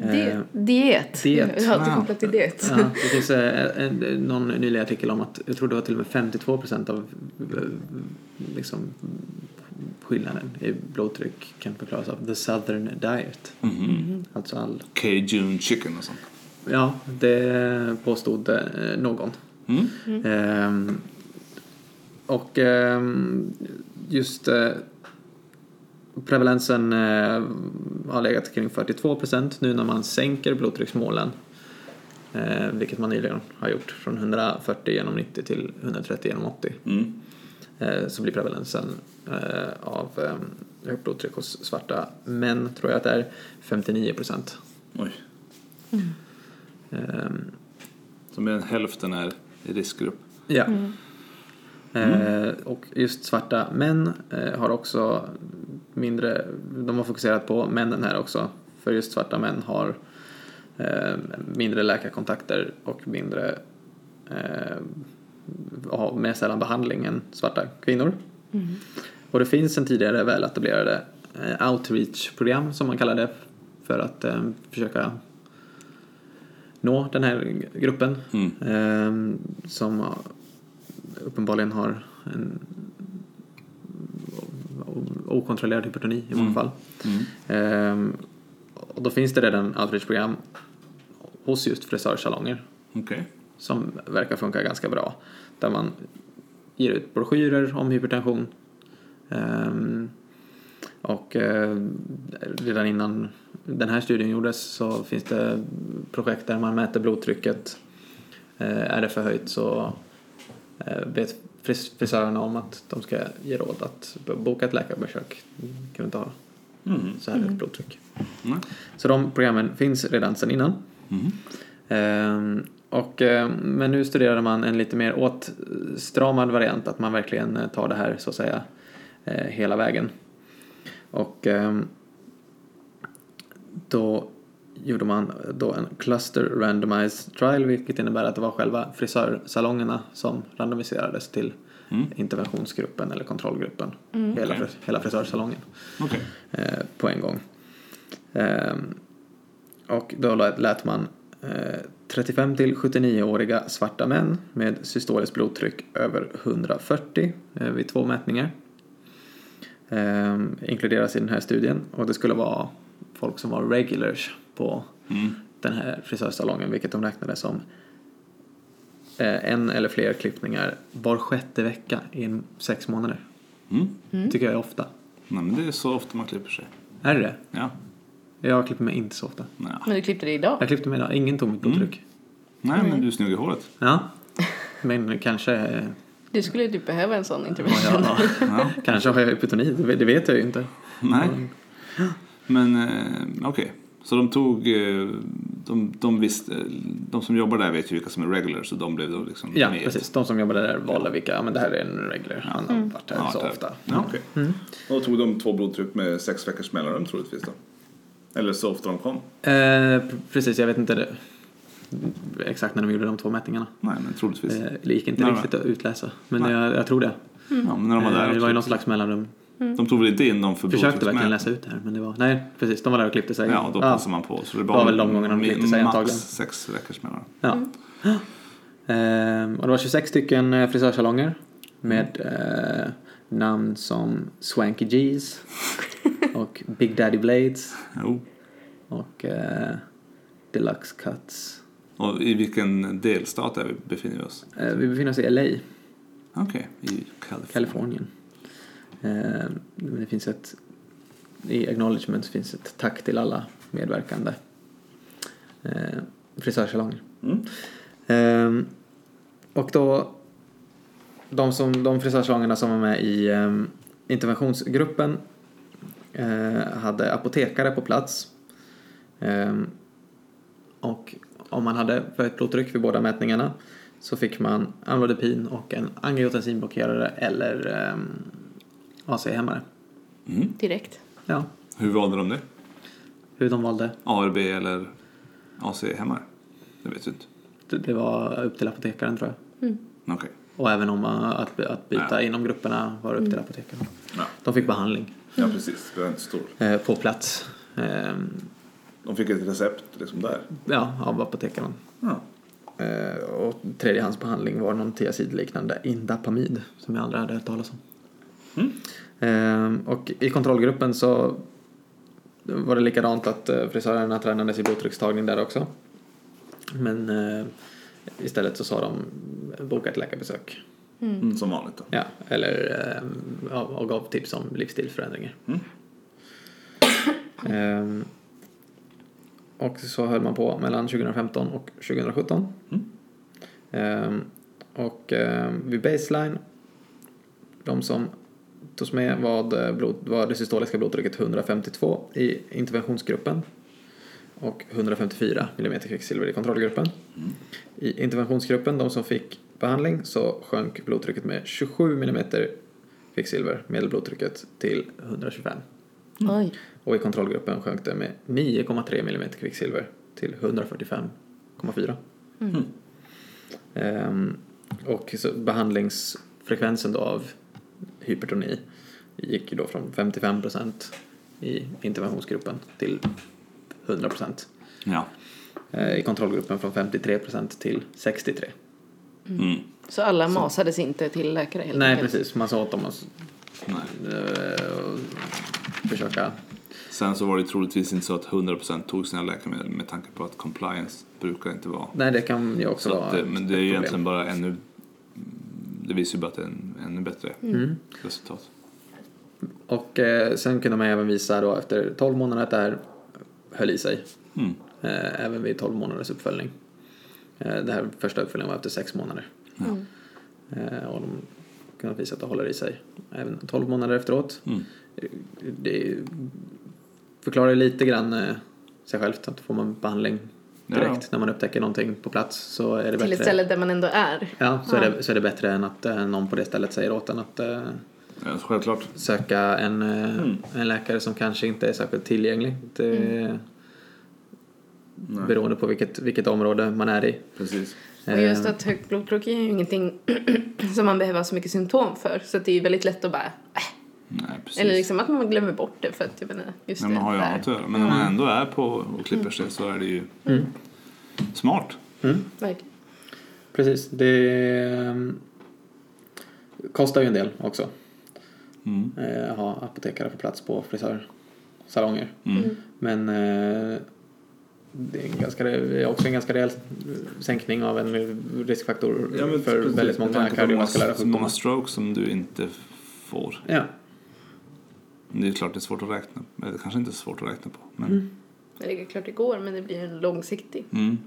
Speaker 1: Eh,
Speaker 3: Di- diet.
Speaker 1: diet.
Speaker 3: Jag har alltid
Speaker 2: Ah.
Speaker 3: kopplat till diet.
Speaker 1: Ja, det finns eh, en, någon nylig artikel om att jag tror det var till och med 52 procent av eh, liksom, skillnaden i blodtryck kan förklaras av the southern diet. Alltså all...
Speaker 2: Cajun chicken och sånt.
Speaker 1: Ja, det påstod eh, någon.
Speaker 2: Mm.
Speaker 1: Ehm, och ehm, just eh, prevalensen eh, har legat kring 42 procent nu när man sänker blodtrycksmålen. Eh, vilket man nyligen har gjort från 140 genom 90 till 130 genom 80.
Speaker 2: Mm.
Speaker 1: Eh, så blir prevalensen eh, av eh, högt blodtryck hos svarta män tror jag att det är 59 procent. Ehm,
Speaker 2: Oj. Så mer än hälften är i riskgrupp.
Speaker 1: Ja. Eh, och just svarta män eh, har också mindre, de har fokuserat på männen här också. För just svarta män har eh, mindre läkarkontakter och mindre, eh, har mer sällan behandling än svarta kvinnor. Mm. Och det finns en tidigare väl etablerade eh, outreach-program som man kallar det för att eh, försöka nå den här gruppen
Speaker 2: Mm.
Speaker 1: ehm, som uppenbarligen har en okontrollerad hypertoni i många fall. Ehm, och då finns det redan outreach-program hos just frisörsalonger
Speaker 2: Okej.
Speaker 1: som verkar funka ganska bra. Där man ger ut broschyrer om hypertension. Ehm, och eh, redan innan den här studien gjordes så finns det projekt där man mäter blodtrycket. Eh, är det för höjt så eh, vet fris- frisörerna om att de ska ge råd att b- boka ett läkarbesök. Kan vi inte ha
Speaker 2: Mm.
Speaker 1: så här högt blodtryck.
Speaker 2: Mm.
Speaker 1: Så de programmen finns redan sedan innan.
Speaker 2: Mm.
Speaker 1: Ehm, och, ehm, men nu studerade man en lite mer åtstramad variant, att man verkligen eh, tar det här så att säga eh, hela vägen. Och ehm, då gjorde man då en cluster randomized trial, vilket innebär att det var själva frisörsalongerna som randomiserades till
Speaker 2: Mm.
Speaker 1: interventionsgruppen eller kontrollgruppen. Hela,
Speaker 2: Okej.
Speaker 1: fris- hela frisörsalongen
Speaker 2: Okej.
Speaker 1: eh, på en gång. Ehm, och då lät lät man eh, 35 till 79-åriga svarta män med systoliskt blodtryck över 140 eh, vid två mätningar ehm, inkluderas i den här studien och det skulle vara folk som var regulars på
Speaker 2: Mm.
Speaker 1: den här frisörsalongen vilket de räknade som eh, en eller fler klippningar var sjätte vecka i sex månader.
Speaker 2: Mm.
Speaker 1: Tycker jag är ofta.
Speaker 2: Nej, men det är så ofta man klipper sig.
Speaker 1: Är det det?
Speaker 2: Ja.
Speaker 1: Jag klipper mig inte så ofta.
Speaker 2: Nja.
Speaker 3: Men du klippte det idag.
Speaker 1: Jag klippte mig idag, ingen tog mitt
Speaker 2: Mm.
Speaker 1: blodtryck.
Speaker 2: Nej, men du är snygg i håret.
Speaker 1: Ja. Men kanske, eh,
Speaker 3: Du skulle ju typ behöva en sån intervention.
Speaker 1: har jag,
Speaker 2: Ja.
Speaker 1: kanske har jag hypotoni, det det vet jag ju inte.
Speaker 2: Nej. Men eh, okej. Så de tog... eh, De, de, visste, de som jobbar där vet ju vilka som är regulars så de blev då liksom
Speaker 1: Ja,
Speaker 2: med.
Speaker 1: precis. De som jobbade där valde vilka, ja men det här är en regler, han har varit här
Speaker 2: Ja,
Speaker 1: så
Speaker 2: där.
Speaker 1: ofta. Mm.
Speaker 2: Ja, okej. Mm.
Speaker 4: Och då tog de två blodtryck med sex veckors mellanrum troligtvis då. Eller så ofta de kom.
Speaker 1: Eh, p- precis, jag vet inte det. exakt när de gjorde de två mätningarna.
Speaker 2: Nej, men troligtvis.
Speaker 1: Eh, det gick inte
Speaker 2: Nej,
Speaker 1: riktigt att utläsa, men
Speaker 2: Nej.
Speaker 1: jag, jag tror det.
Speaker 2: Ja, men när de var
Speaker 1: Eh,
Speaker 2: där
Speaker 1: det var
Speaker 2: också.
Speaker 1: ju någon slags mellanrum.
Speaker 2: De tog väl inte in dem för
Speaker 1: Försökte verkligen
Speaker 2: blodtrycksmätning?
Speaker 1: läsa ut det här, men det var, nej precis, de var där och klippte sig.
Speaker 2: Ja, och då passade man på. Så det
Speaker 1: var väl de gångerna de
Speaker 2: min-
Speaker 1: klippte sig
Speaker 2: max
Speaker 1: antagligen.
Speaker 2: sex veckors mellanrum.
Speaker 1: Ja. Ehm, och det var 26 stycken eh, frisörsalonger med eh, namn som Swanky G's och Big Daddy Blades
Speaker 2: Jo.
Speaker 1: och eh, Deluxe Cuts.
Speaker 2: Och i vilken delstat är vi, befinner vi oss?
Speaker 1: Eh, vi befinner oss i LA,
Speaker 2: Okej, i Kalifornien.
Speaker 1: Kalifornien. Ehm, men det finns ett, i acknowledgement så finns ett tack till alla medverkande eh, frisörsalonger.
Speaker 4: Mm.
Speaker 1: Ehm, och då, de, som, de frisörsalongerna som var med i ehm, interventionsgruppen eh, hade apotekare på plats. Ehm, och om man hade för högt blodtryck vid båda mätningarna så fick man amlodipin och en angiotensinblockerare eller ehm, AC-hämmare.
Speaker 2: Mm.
Speaker 3: Direkt.
Speaker 1: Ja,
Speaker 2: Hur valde de det?
Speaker 1: hur de valde,
Speaker 2: ARB eller AC-hämmare? Det vet du inte.
Speaker 1: det, det var upp till apotekaren tror jag.
Speaker 2: Okej.
Speaker 1: Och även om eh, att, att byta
Speaker 2: Ja.
Speaker 1: inom grupperna var upp till apotekaren.
Speaker 4: Ja,
Speaker 1: De fick behandling.
Speaker 4: ja precis. Det var inte stor.
Speaker 1: eh, på plats ehm,
Speaker 4: De fick ett recept liksom där.
Speaker 1: ja, av apotekaren.
Speaker 4: Ja.
Speaker 1: Eh, och tredjehandsbehandling var någon tiacidliknande indapamid som jag aldrig hade hört talas om. Ehm, och i kontrollgruppen så var det likadant att eh, frisörerna tränades i blodtryckstagning där också. Men eh, istället så sa de boka ett läkarbesök.
Speaker 4: Mm, som vanligt då.
Speaker 1: Ja, eller ehm, ja, och gav tips om livsstilsförändringar.
Speaker 4: Mm.
Speaker 1: Ehm, och så höll man på mellan 2015 och 2017.
Speaker 4: Mm.
Speaker 1: Ehm, och ehm, vid baseline, de som togs med var det, blod, var det systoliska blodtrycket 152 i interventionsgruppen och 154 mm kvicksilver i kontrollgruppen. I interventionsgruppen, de som fick behandling, så sjönk blodtrycket med 27 mm kvicksilver, medelblodtrycket, till 125.
Speaker 3: Oj.
Speaker 1: Och i kontrollgruppen sjönk det med 9,3 mm kvicksilver till 145,4.
Speaker 3: Mm.
Speaker 1: Ehm, och så behandlingsfrekvensen då av hypertoni gick ju då från 55% i interventionsgruppen till 100%.
Speaker 2: Ja.
Speaker 1: Eh, I kontrollgruppen från 53% till 63%.
Speaker 2: Mm.
Speaker 3: Så alla masades inte till läkare helt
Speaker 1: Nej
Speaker 3: enkelt?
Speaker 1: precis, man sa åt dem att Eh, och försöka.
Speaker 2: Sen så var det troligtvis inte så att 100% tog sina läkemedel med tanke på att compliance brukar inte vara.
Speaker 1: Nej, det kan ju också
Speaker 2: Så
Speaker 1: vara
Speaker 2: att, eh, men det
Speaker 1: ett
Speaker 2: är ju
Speaker 1: problem.
Speaker 2: egentligen bara ännu... Det visar ju bara att det är en, ännu bättre
Speaker 1: Mm.
Speaker 2: resultat.
Speaker 1: Och eh, sen kunde man även visa då efter 12 månader att det här höll i sig.
Speaker 2: Mm.
Speaker 1: Eh, även vid 12 månaders uppföljning. Eh, det här första uppföljningen var efter 6 månader.
Speaker 3: Mm.
Speaker 1: Eh, och de kunde visa att det håller i sig. Även 12 månader efteråt.
Speaker 2: Mm.
Speaker 1: Det förklarar ju lite grann eh, sig självt att får man behandling
Speaker 2: Ja,
Speaker 1: direkt när man upptäcker någonting på plats så är det
Speaker 3: Till ett
Speaker 1: bättre.
Speaker 3: ställe där man ändå är.
Speaker 1: Ja, så, Är
Speaker 3: Ja.
Speaker 1: det, så är det bättre än att eh, någon på det stället säger åt en att eh,
Speaker 2: Ja, så självklart.
Speaker 1: söka en, eh, en läkare som kanske inte är särskilt tillgänglig. Det, Beroende på vilket, vilket område man är i.
Speaker 4: Precis.
Speaker 3: Och just
Speaker 1: Eh,
Speaker 3: att högt blodtryck är ju ingenting som man behöver ha så mycket symptom för. Så att det är ju väldigt lätt att bara... Äh.
Speaker 2: Nej, precis.
Speaker 3: Eller liksom att man glömmer bort det för att jag vet inte, just
Speaker 2: när man
Speaker 3: det
Speaker 2: har ju
Speaker 3: där.
Speaker 2: annat att göra. Men när man
Speaker 1: Mm.
Speaker 2: ändå är på och klipper sig så är det ju smart.
Speaker 3: Verkligen.
Speaker 1: Mm. Precis, det eh, kostar ju en del också.
Speaker 2: Mm.
Speaker 1: Eh, ha apotekare på plats på frisörsalonger.
Speaker 2: Mm.
Speaker 1: Men eh, det är, en ganska, det är också en ganska rejäl sänkning av en riskfaktor
Speaker 4: Ja, men
Speaker 1: för
Speaker 4: precis,
Speaker 1: väldigt
Speaker 4: med
Speaker 1: många
Speaker 4: tanke på hur många-
Speaker 1: kardiovaskulära
Speaker 2: Så många
Speaker 1: sjukdomar.
Speaker 2: strokes som du inte får.
Speaker 1: Ja,
Speaker 2: Det är ju klart det är svårt att räkna Eller det kanske inte är svårt att räkna på. Men,
Speaker 1: Mm.
Speaker 3: Mm. Det är klart det går men det blir en långsiktig
Speaker 2: Mm.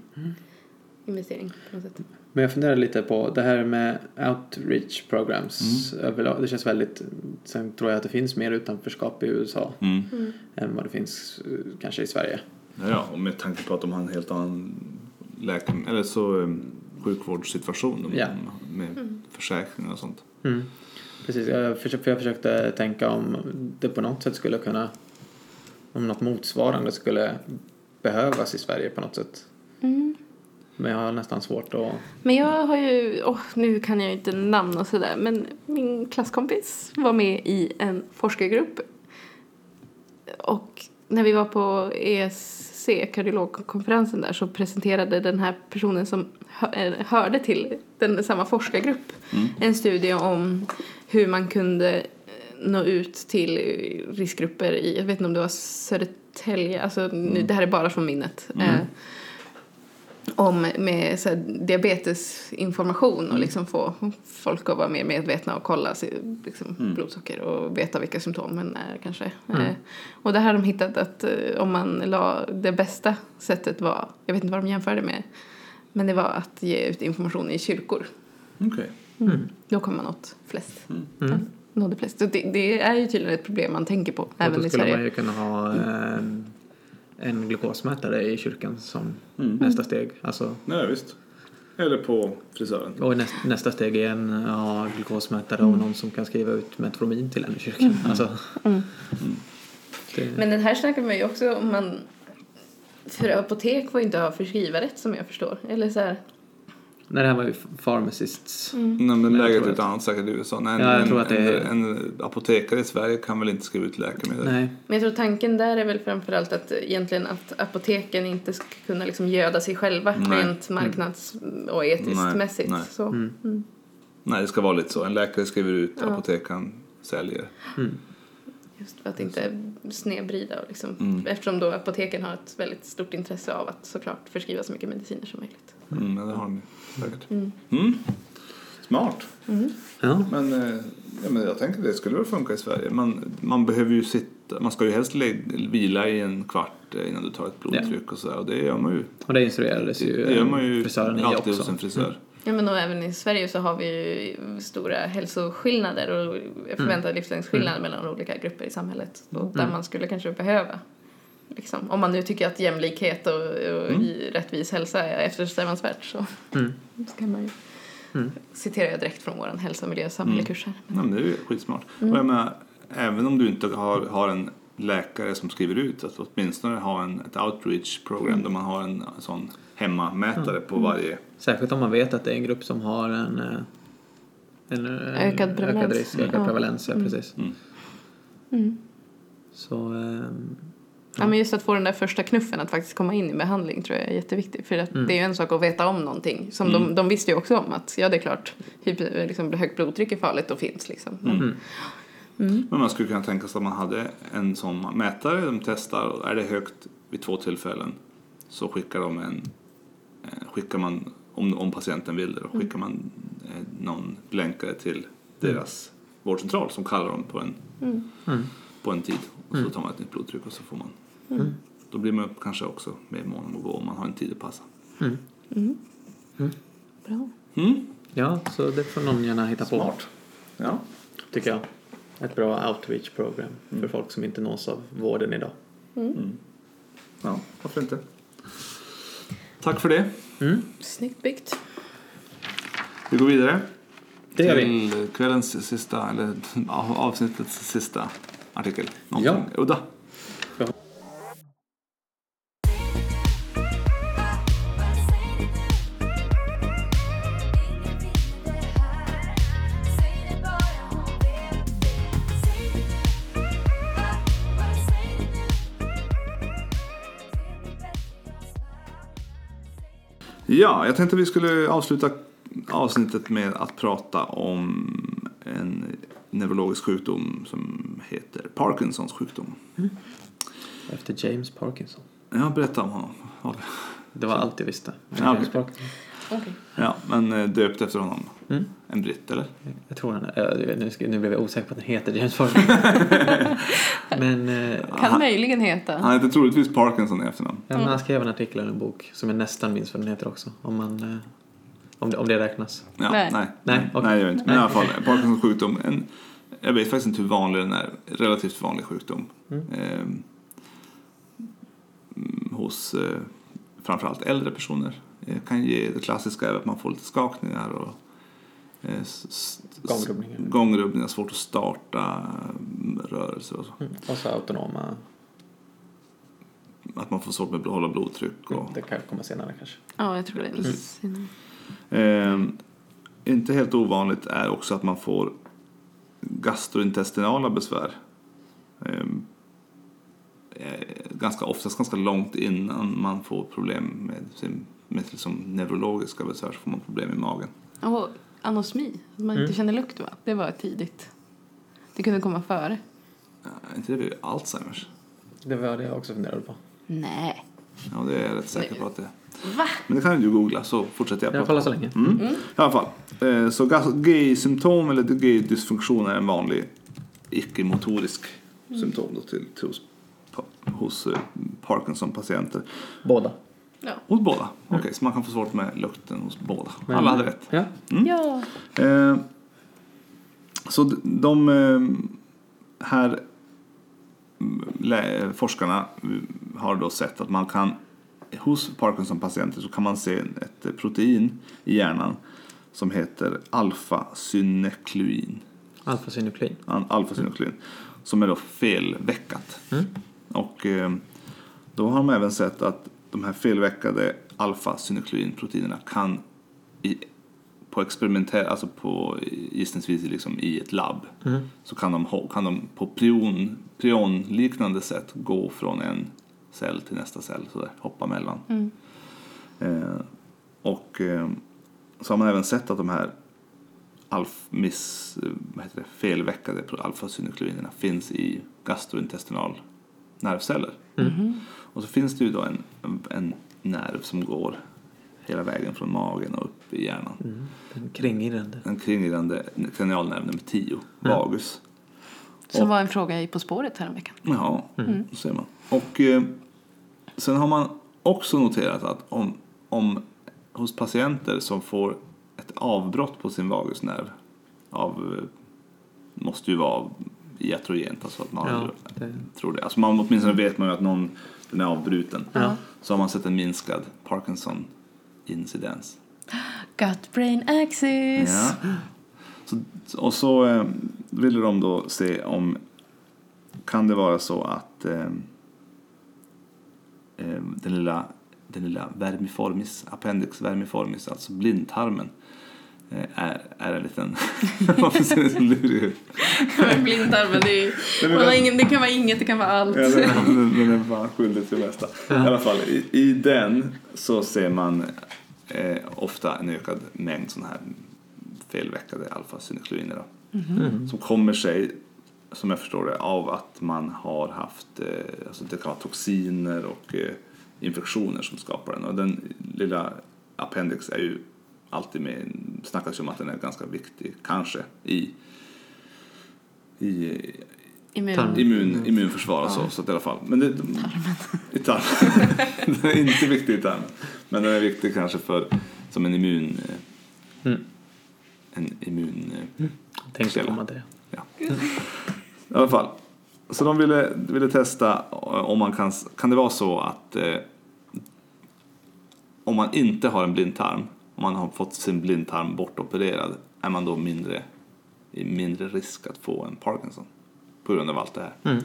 Speaker 3: investering på något sätt.
Speaker 1: men jag funderar lite på det här med outreach programs överlag. Det känns väldigt, sen tror jag att det finns mer utanförskap i USA
Speaker 2: Mm.
Speaker 1: än vad det finns eh, kanske i Sverige.
Speaker 2: Ja, och med tanke på att de har en helt annan läkem- eller så, eh, sjukvårdssituation de,
Speaker 1: Ja.
Speaker 2: med
Speaker 3: Mm.
Speaker 2: försäkringar och sånt.
Speaker 1: Mm. Precis, jag, försökte, för jag försökte tänka om det på något sätt skulle kunna, om något motsvarande skulle behövas i Sverige på något sätt. Mm. Men jag har nästan svårt att...
Speaker 3: Men jag har ju, åh, nu kan jag ju inte namn och sådär, men min klasskompis var med i en forskargrupp. Och när vi var på ESC, kardiologkonferensen där, så presenterade den här personen som hö- eh, hörde till den, samma forskargrupp en studie om hur man kunde eh, nå ut till eh, riskgrupper i, jag vet inte om det var Södertälje, alltså nu, det här är bara från minnet. Eh, om med så här, diabetesinformation
Speaker 1: Mm.
Speaker 3: och liksom få folk att vara mer medvetna och kolla sig, liksom,
Speaker 1: Mm.
Speaker 3: blodsocker och veta vilka symptomen är kanske. Eh, och där har de hittat att eh, om man la det bästa sättet var, jag vet inte vad de jämförde med, men det var att ge ut information i kyrkor.
Speaker 4: Okej.
Speaker 3: Då kommer man åt flest.
Speaker 1: Mm.
Speaker 3: Ja, nådde flest. Så det, det är ju tydligen ett problem man tänker på
Speaker 1: Och
Speaker 3: även
Speaker 1: då
Speaker 3: i
Speaker 1: skulle
Speaker 3: Sverige.
Speaker 1: man ju kunna ha eh, en glukosmätare i kyrkan som
Speaker 3: Mm.
Speaker 1: nästa steg. Alltså,
Speaker 4: Nej, visst. Eller på frisören.
Speaker 1: och näst, nästa steg är en ja, glukosmätare
Speaker 3: Mm.
Speaker 1: och någon som kan skriva ut Metformin till en i kyrkan. Alltså,
Speaker 3: Mm. Men den här snackar man ju också om man... För apotek får ju inte ha förskrivarrätt som jag förstår. Eller så här,
Speaker 1: nej, det här var ju pharmacists.
Speaker 3: Mm.
Speaker 2: Nej, men
Speaker 1: Mm. jag
Speaker 2: läget
Speaker 1: tror
Speaker 2: är
Speaker 1: att-
Speaker 2: ett annat säkert i USA. Nej,
Speaker 1: Ja, jag
Speaker 2: en,
Speaker 1: tror att det är-
Speaker 2: en, en apotekare i Sverige kan väl inte skriva ut läkemedel?
Speaker 1: Nej.
Speaker 3: Men jag tror tanken där är väl framförallt att egentligen att apoteken inte ska kunna liksom göda sig själva
Speaker 2: Nej. Mm.
Speaker 3: rent marknads och etiskt
Speaker 2: Nej,
Speaker 3: mässigt.
Speaker 2: nej.
Speaker 3: Så.
Speaker 2: Nej, det ska vara lite så. En läkare skriver ut, apotekaren säljer.
Speaker 3: Just för att inte snedvrida och liksom,
Speaker 2: Mm.
Speaker 3: eftersom då apoteken har ett väldigt stort intresse av att såklart förskriva så mycket mediciner som möjligt.
Speaker 2: Mm, men det har de ju säkert.
Speaker 4: Mm. Smart.
Speaker 1: Ja.
Speaker 2: Men, eh, ja, men jag tänker det skulle väl funka i Sverige. Man, man behöver ju sitta, man ska ju helst le- vila i en kvart eh, innan du tar ett blodtryck och sådär. Och det gör man ju.
Speaker 1: Och det instruerades ju, eh,
Speaker 2: Det gör man ju
Speaker 1: frisören i
Speaker 2: alltid hos
Speaker 1: också. Mm.
Speaker 2: en frisör.
Speaker 3: Ja, men och även i Sverige så har vi ju stora hälsoskillnader och förväntade livslängdsskillnader mellan olika grupper i samhället. Och där man skulle kanske behöva, liksom, om man nu tycker att jämlikhet och, och i- rättvis hälsa är eftersträvansvärt så ska man ju citerar jag direkt från vår hälsa, miljö och samhällskurser.
Speaker 2: Ja, men det är ju skitsmart.
Speaker 1: Mm.
Speaker 2: Och jag menar, även om du inte har, har en läkare som skriver ut, att åtminstone ha en, ett outreach program
Speaker 1: Mm.
Speaker 2: där man har en sån hemmamätare på varje.
Speaker 1: Särskilt om man vet att det är en grupp som har en, eh, en, eh,
Speaker 3: Ökad prevalens.
Speaker 1: risk, ökad
Speaker 3: Ja. Mm.
Speaker 1: prevalens. Ja, precis.
Speaker 2: Mm.
Speaker 1: Så, ehm,
Speaker 3: Ja, men just att få den där första knuffen att faktiskt komma in i behandling tror jag är jätteviktigt. För att det är ju en sak att veta om någonting. Som de, de visste ju också om att ja, det är klart, hyper, liksom, högt blodtryck är farligt och finns liksom. Men,
Speaker 2: Men man skulle kunna tänka sig att man hade en sån mätare. De testar och är det högt vid två tillfällen så skickar de en, eh, skickar man, om, om patienten vill det, då skickar man eh, någon länkare till deras vårdcentral som kallar dem på en,
Speaker 1: Mm.
Speaker 2: på en tid. Och så tar man ett nytt blodtryck och så får man. Då blir man kanske också mer mån om att gå om man har en tid att passa.
Speaker 1: Mm.
Speaker 3: Bra.
Speaker 2: Mm.
Speaker 1: Ja, så det får någon gärna hitta på.
Speaker 2: Ja.
Speaker 1: Tycker jag. Ett bra outreach-program
Speaker 2: Mm.
Speaker 1: för folk som inte nås av vården idag.
Speaker 2: ja, varför inte? Tack för det.
Speaker 3: Snyggt byggt.
Speaker 2: Vi går vidare.
Speaker 1: Det gör vi.
Speaker 2: till kvällens sista, eller av- avsnittets sista artikel.
Speaker 1: Ja.
Speaker 2: Udda. Ja, jag tänkte vi skulle avsluta avsnittet med att prata om en neurologisk sjukdom som heter Parkinsons sjukdom.
Speaker 1: Efter James Parkinson.
Speaker 2: Ja, berätta om honom.
Speaker 1: Det var allt jag visste. om
Speaker 2: Ja,
Speaker 1: James
Speaker 2: okej.
Speaker 1: Parkinson.
Speaker 3: Okej.
Speaker 2: Ja, men eh, döpt efter honom.
Speaker 1: Mm.
Speaker 2: En britt, eller?
Speaker 1: Jag tror han är, äh, nu, ska, nu blev jag osäker på att den heter James Parkinson. men, eh, ja,
Speaker 3: Kan möjligen heta.
Speaker 2: Han heter troligtvis Parkinson i efternamn.
Speaker 1: men han skrev en artikel eller en bok som jag nästan minns vad den heter också. Om, man, eh, om, det, om det räknas.
Speaker 2: Ja,
Speaker 3: Nej.
Speaker 2: nej. Nej,
Speaker 1: Nej, okej.
Speaker 2: det gör jag inte. Men i alla fall, Parkinsons sjukdom. En, jag vet faktiskt inte hur vanlig den är. Relativt vanlig sjukdom. Ehm, mm, hos eh, framförallt äldre personer. Eh, kan ge det klassiska är att man får lite skakningar och eh, s- s-
Speaker 1: Gångrubbningar.
Speaker 2: gångrubbningar, svårt att starta mm, rörelser och så.
Speaker 1: Och så autonoma.
Speaker 2: Att man får svårt med att hålla blodtryck och
Speaker 1: Det kan komma senare kanske.
Speaker 3: Ja, jag tror det. Mm. är senare.
Speaker 2: Ehm, inte helt ovanligt är också att man får gastrointestinala besvär. Ehm, eh, ganska oftast ganska långt innan man får problem med, sin, med liksom neurologiska besvär så får man problem i magen.
Speaker 3: Och anosmi, att man inte känner lukt va? Det var tidigt. Det kunde komma före.
Speaker 2: Är inte det vid Alzheimers?
Speaker 1: Det var det jag också funderade på.
Speaker 3: Nej.
Speaker 2: Ja, det är jag rätt säker på att det är.
Speaker 3: Va?
Speaker 2: Men det kan ju du googla så fortsätter jag
Speaker 1: Jag
Speaker 2: prata.
Speaker 1: kollar så länge.
Speaker 2: Mm. I alla fall. Eh, Så gas- GI-symptom eller GI-dysfunktion är en vanlig icke-motorisk symptom då till, till hos, pa- hos eh, Parkinson-patienter.
Speaker 1: Båda.
Speaker 3: Ja.
Speaker 2: Hos båda. Okej, så man kan få svårt med lukten hos båda. Alla hade rätt.
Speaker 1: Ja.
Speaker 3: Ja.
Speaker 2: Eh, Så d- de eh, här mm, lä- forskarna mm, har då sett att man kan hos Parkinson-patienter så kan man se ett eh, protein i hjärnan som heter alfa-synekluin.
Speaker 1: Alfasynuklein.
Speaker 2: An- alfasynekluin som är då felväckat. Och eh, då har de även sett att de här felväckade alfasynukleinproteinerna kan i, på experimentell, alltså på gissningsvis liksom i ett labb, så kan de, hå- kan de på prion, prionliknande sätt gå från en cell till nästa cell, så där, hoppa mellan. Eh, och eh, så har man även sett att de här alf, miss, eh, vad heter det, felväckade pro- alfasynuklininerna finns i gastrointestinal nervceller. Och så finns det ju då en, en- en nerv som går hela vägen från magen och upp i hjärnan.
Speaker 1: Den kringrande.
Speaker 2: Den kringliggande kranialnerven nummer 10, vagus.
Speaker 3: Som var en fråga i På spåret häromveckan.
Speaker 2: Ja,
Speaker 1: Mm.
Speaker 2: då ser man. Och eh, sen har man också noterat att om, om hos patienter som får ett avbrott på sin vagusnerv av, eh, måste ju vara iatrogent, alltså att man
Speaker 1: Ja, det-
Speaker 2: tror det. Alltså man, åtminstone vet man ju att någon, den är avbruten.
Speaker 1: Ja.
Speaker 2: Så har man sett en minskad Parkinson-incidens.
Speaker 3: Gut brain axis.
Speaker 2: Ja. Så, och så eh, ville de då se om kan det vara så att eh, eh, den lilla, den lilla vermiformis, appendix vermiformis, alltså blindtarmen, eh, är, är en liten... Varför ser det så lurig ut?
Speaker 3: Men Blindtarmen, det, är ju-
Speaker 2: men-
Speaker 3: man har ingen- det kan vara inget, det kan vara allt.
Speaker 2: Ja, den, den, den är fan skyldig till det mesta. I alla fall, i, i den så ser man eh, ofta en ökad mängd sådana här felväckade alfasynukleiner då, som kommer sig som jag förstår det, av att man har haft eh, alltså det kan vara toxiner och eh, infektioner som skapar den. Och den lilla appendix är ju alltid med, snackas ju om att den är ganska viktig, kanske, i, i
Speaker 3: Immun.
Speaker 2: immun, immunförsvar och så. så att i alla fall. Men det, I tarmen. den är inte viktig i tarmen. Men den är viktig kanske för, som en immun... eh,
Speaker 1: Mm.
Speaker 2: En immun... eh,
Speaker 5: Tänkte komma till det.
Speaker 2: i alla fall. Så de ville, ville testa eh, om man kan, kan det vara så att eh, om man inte har en blindtarm, om man har fått sin blindtarm bortopererad, är man då mindre, i mindre risk att få en Parkinson på grund av allt det här.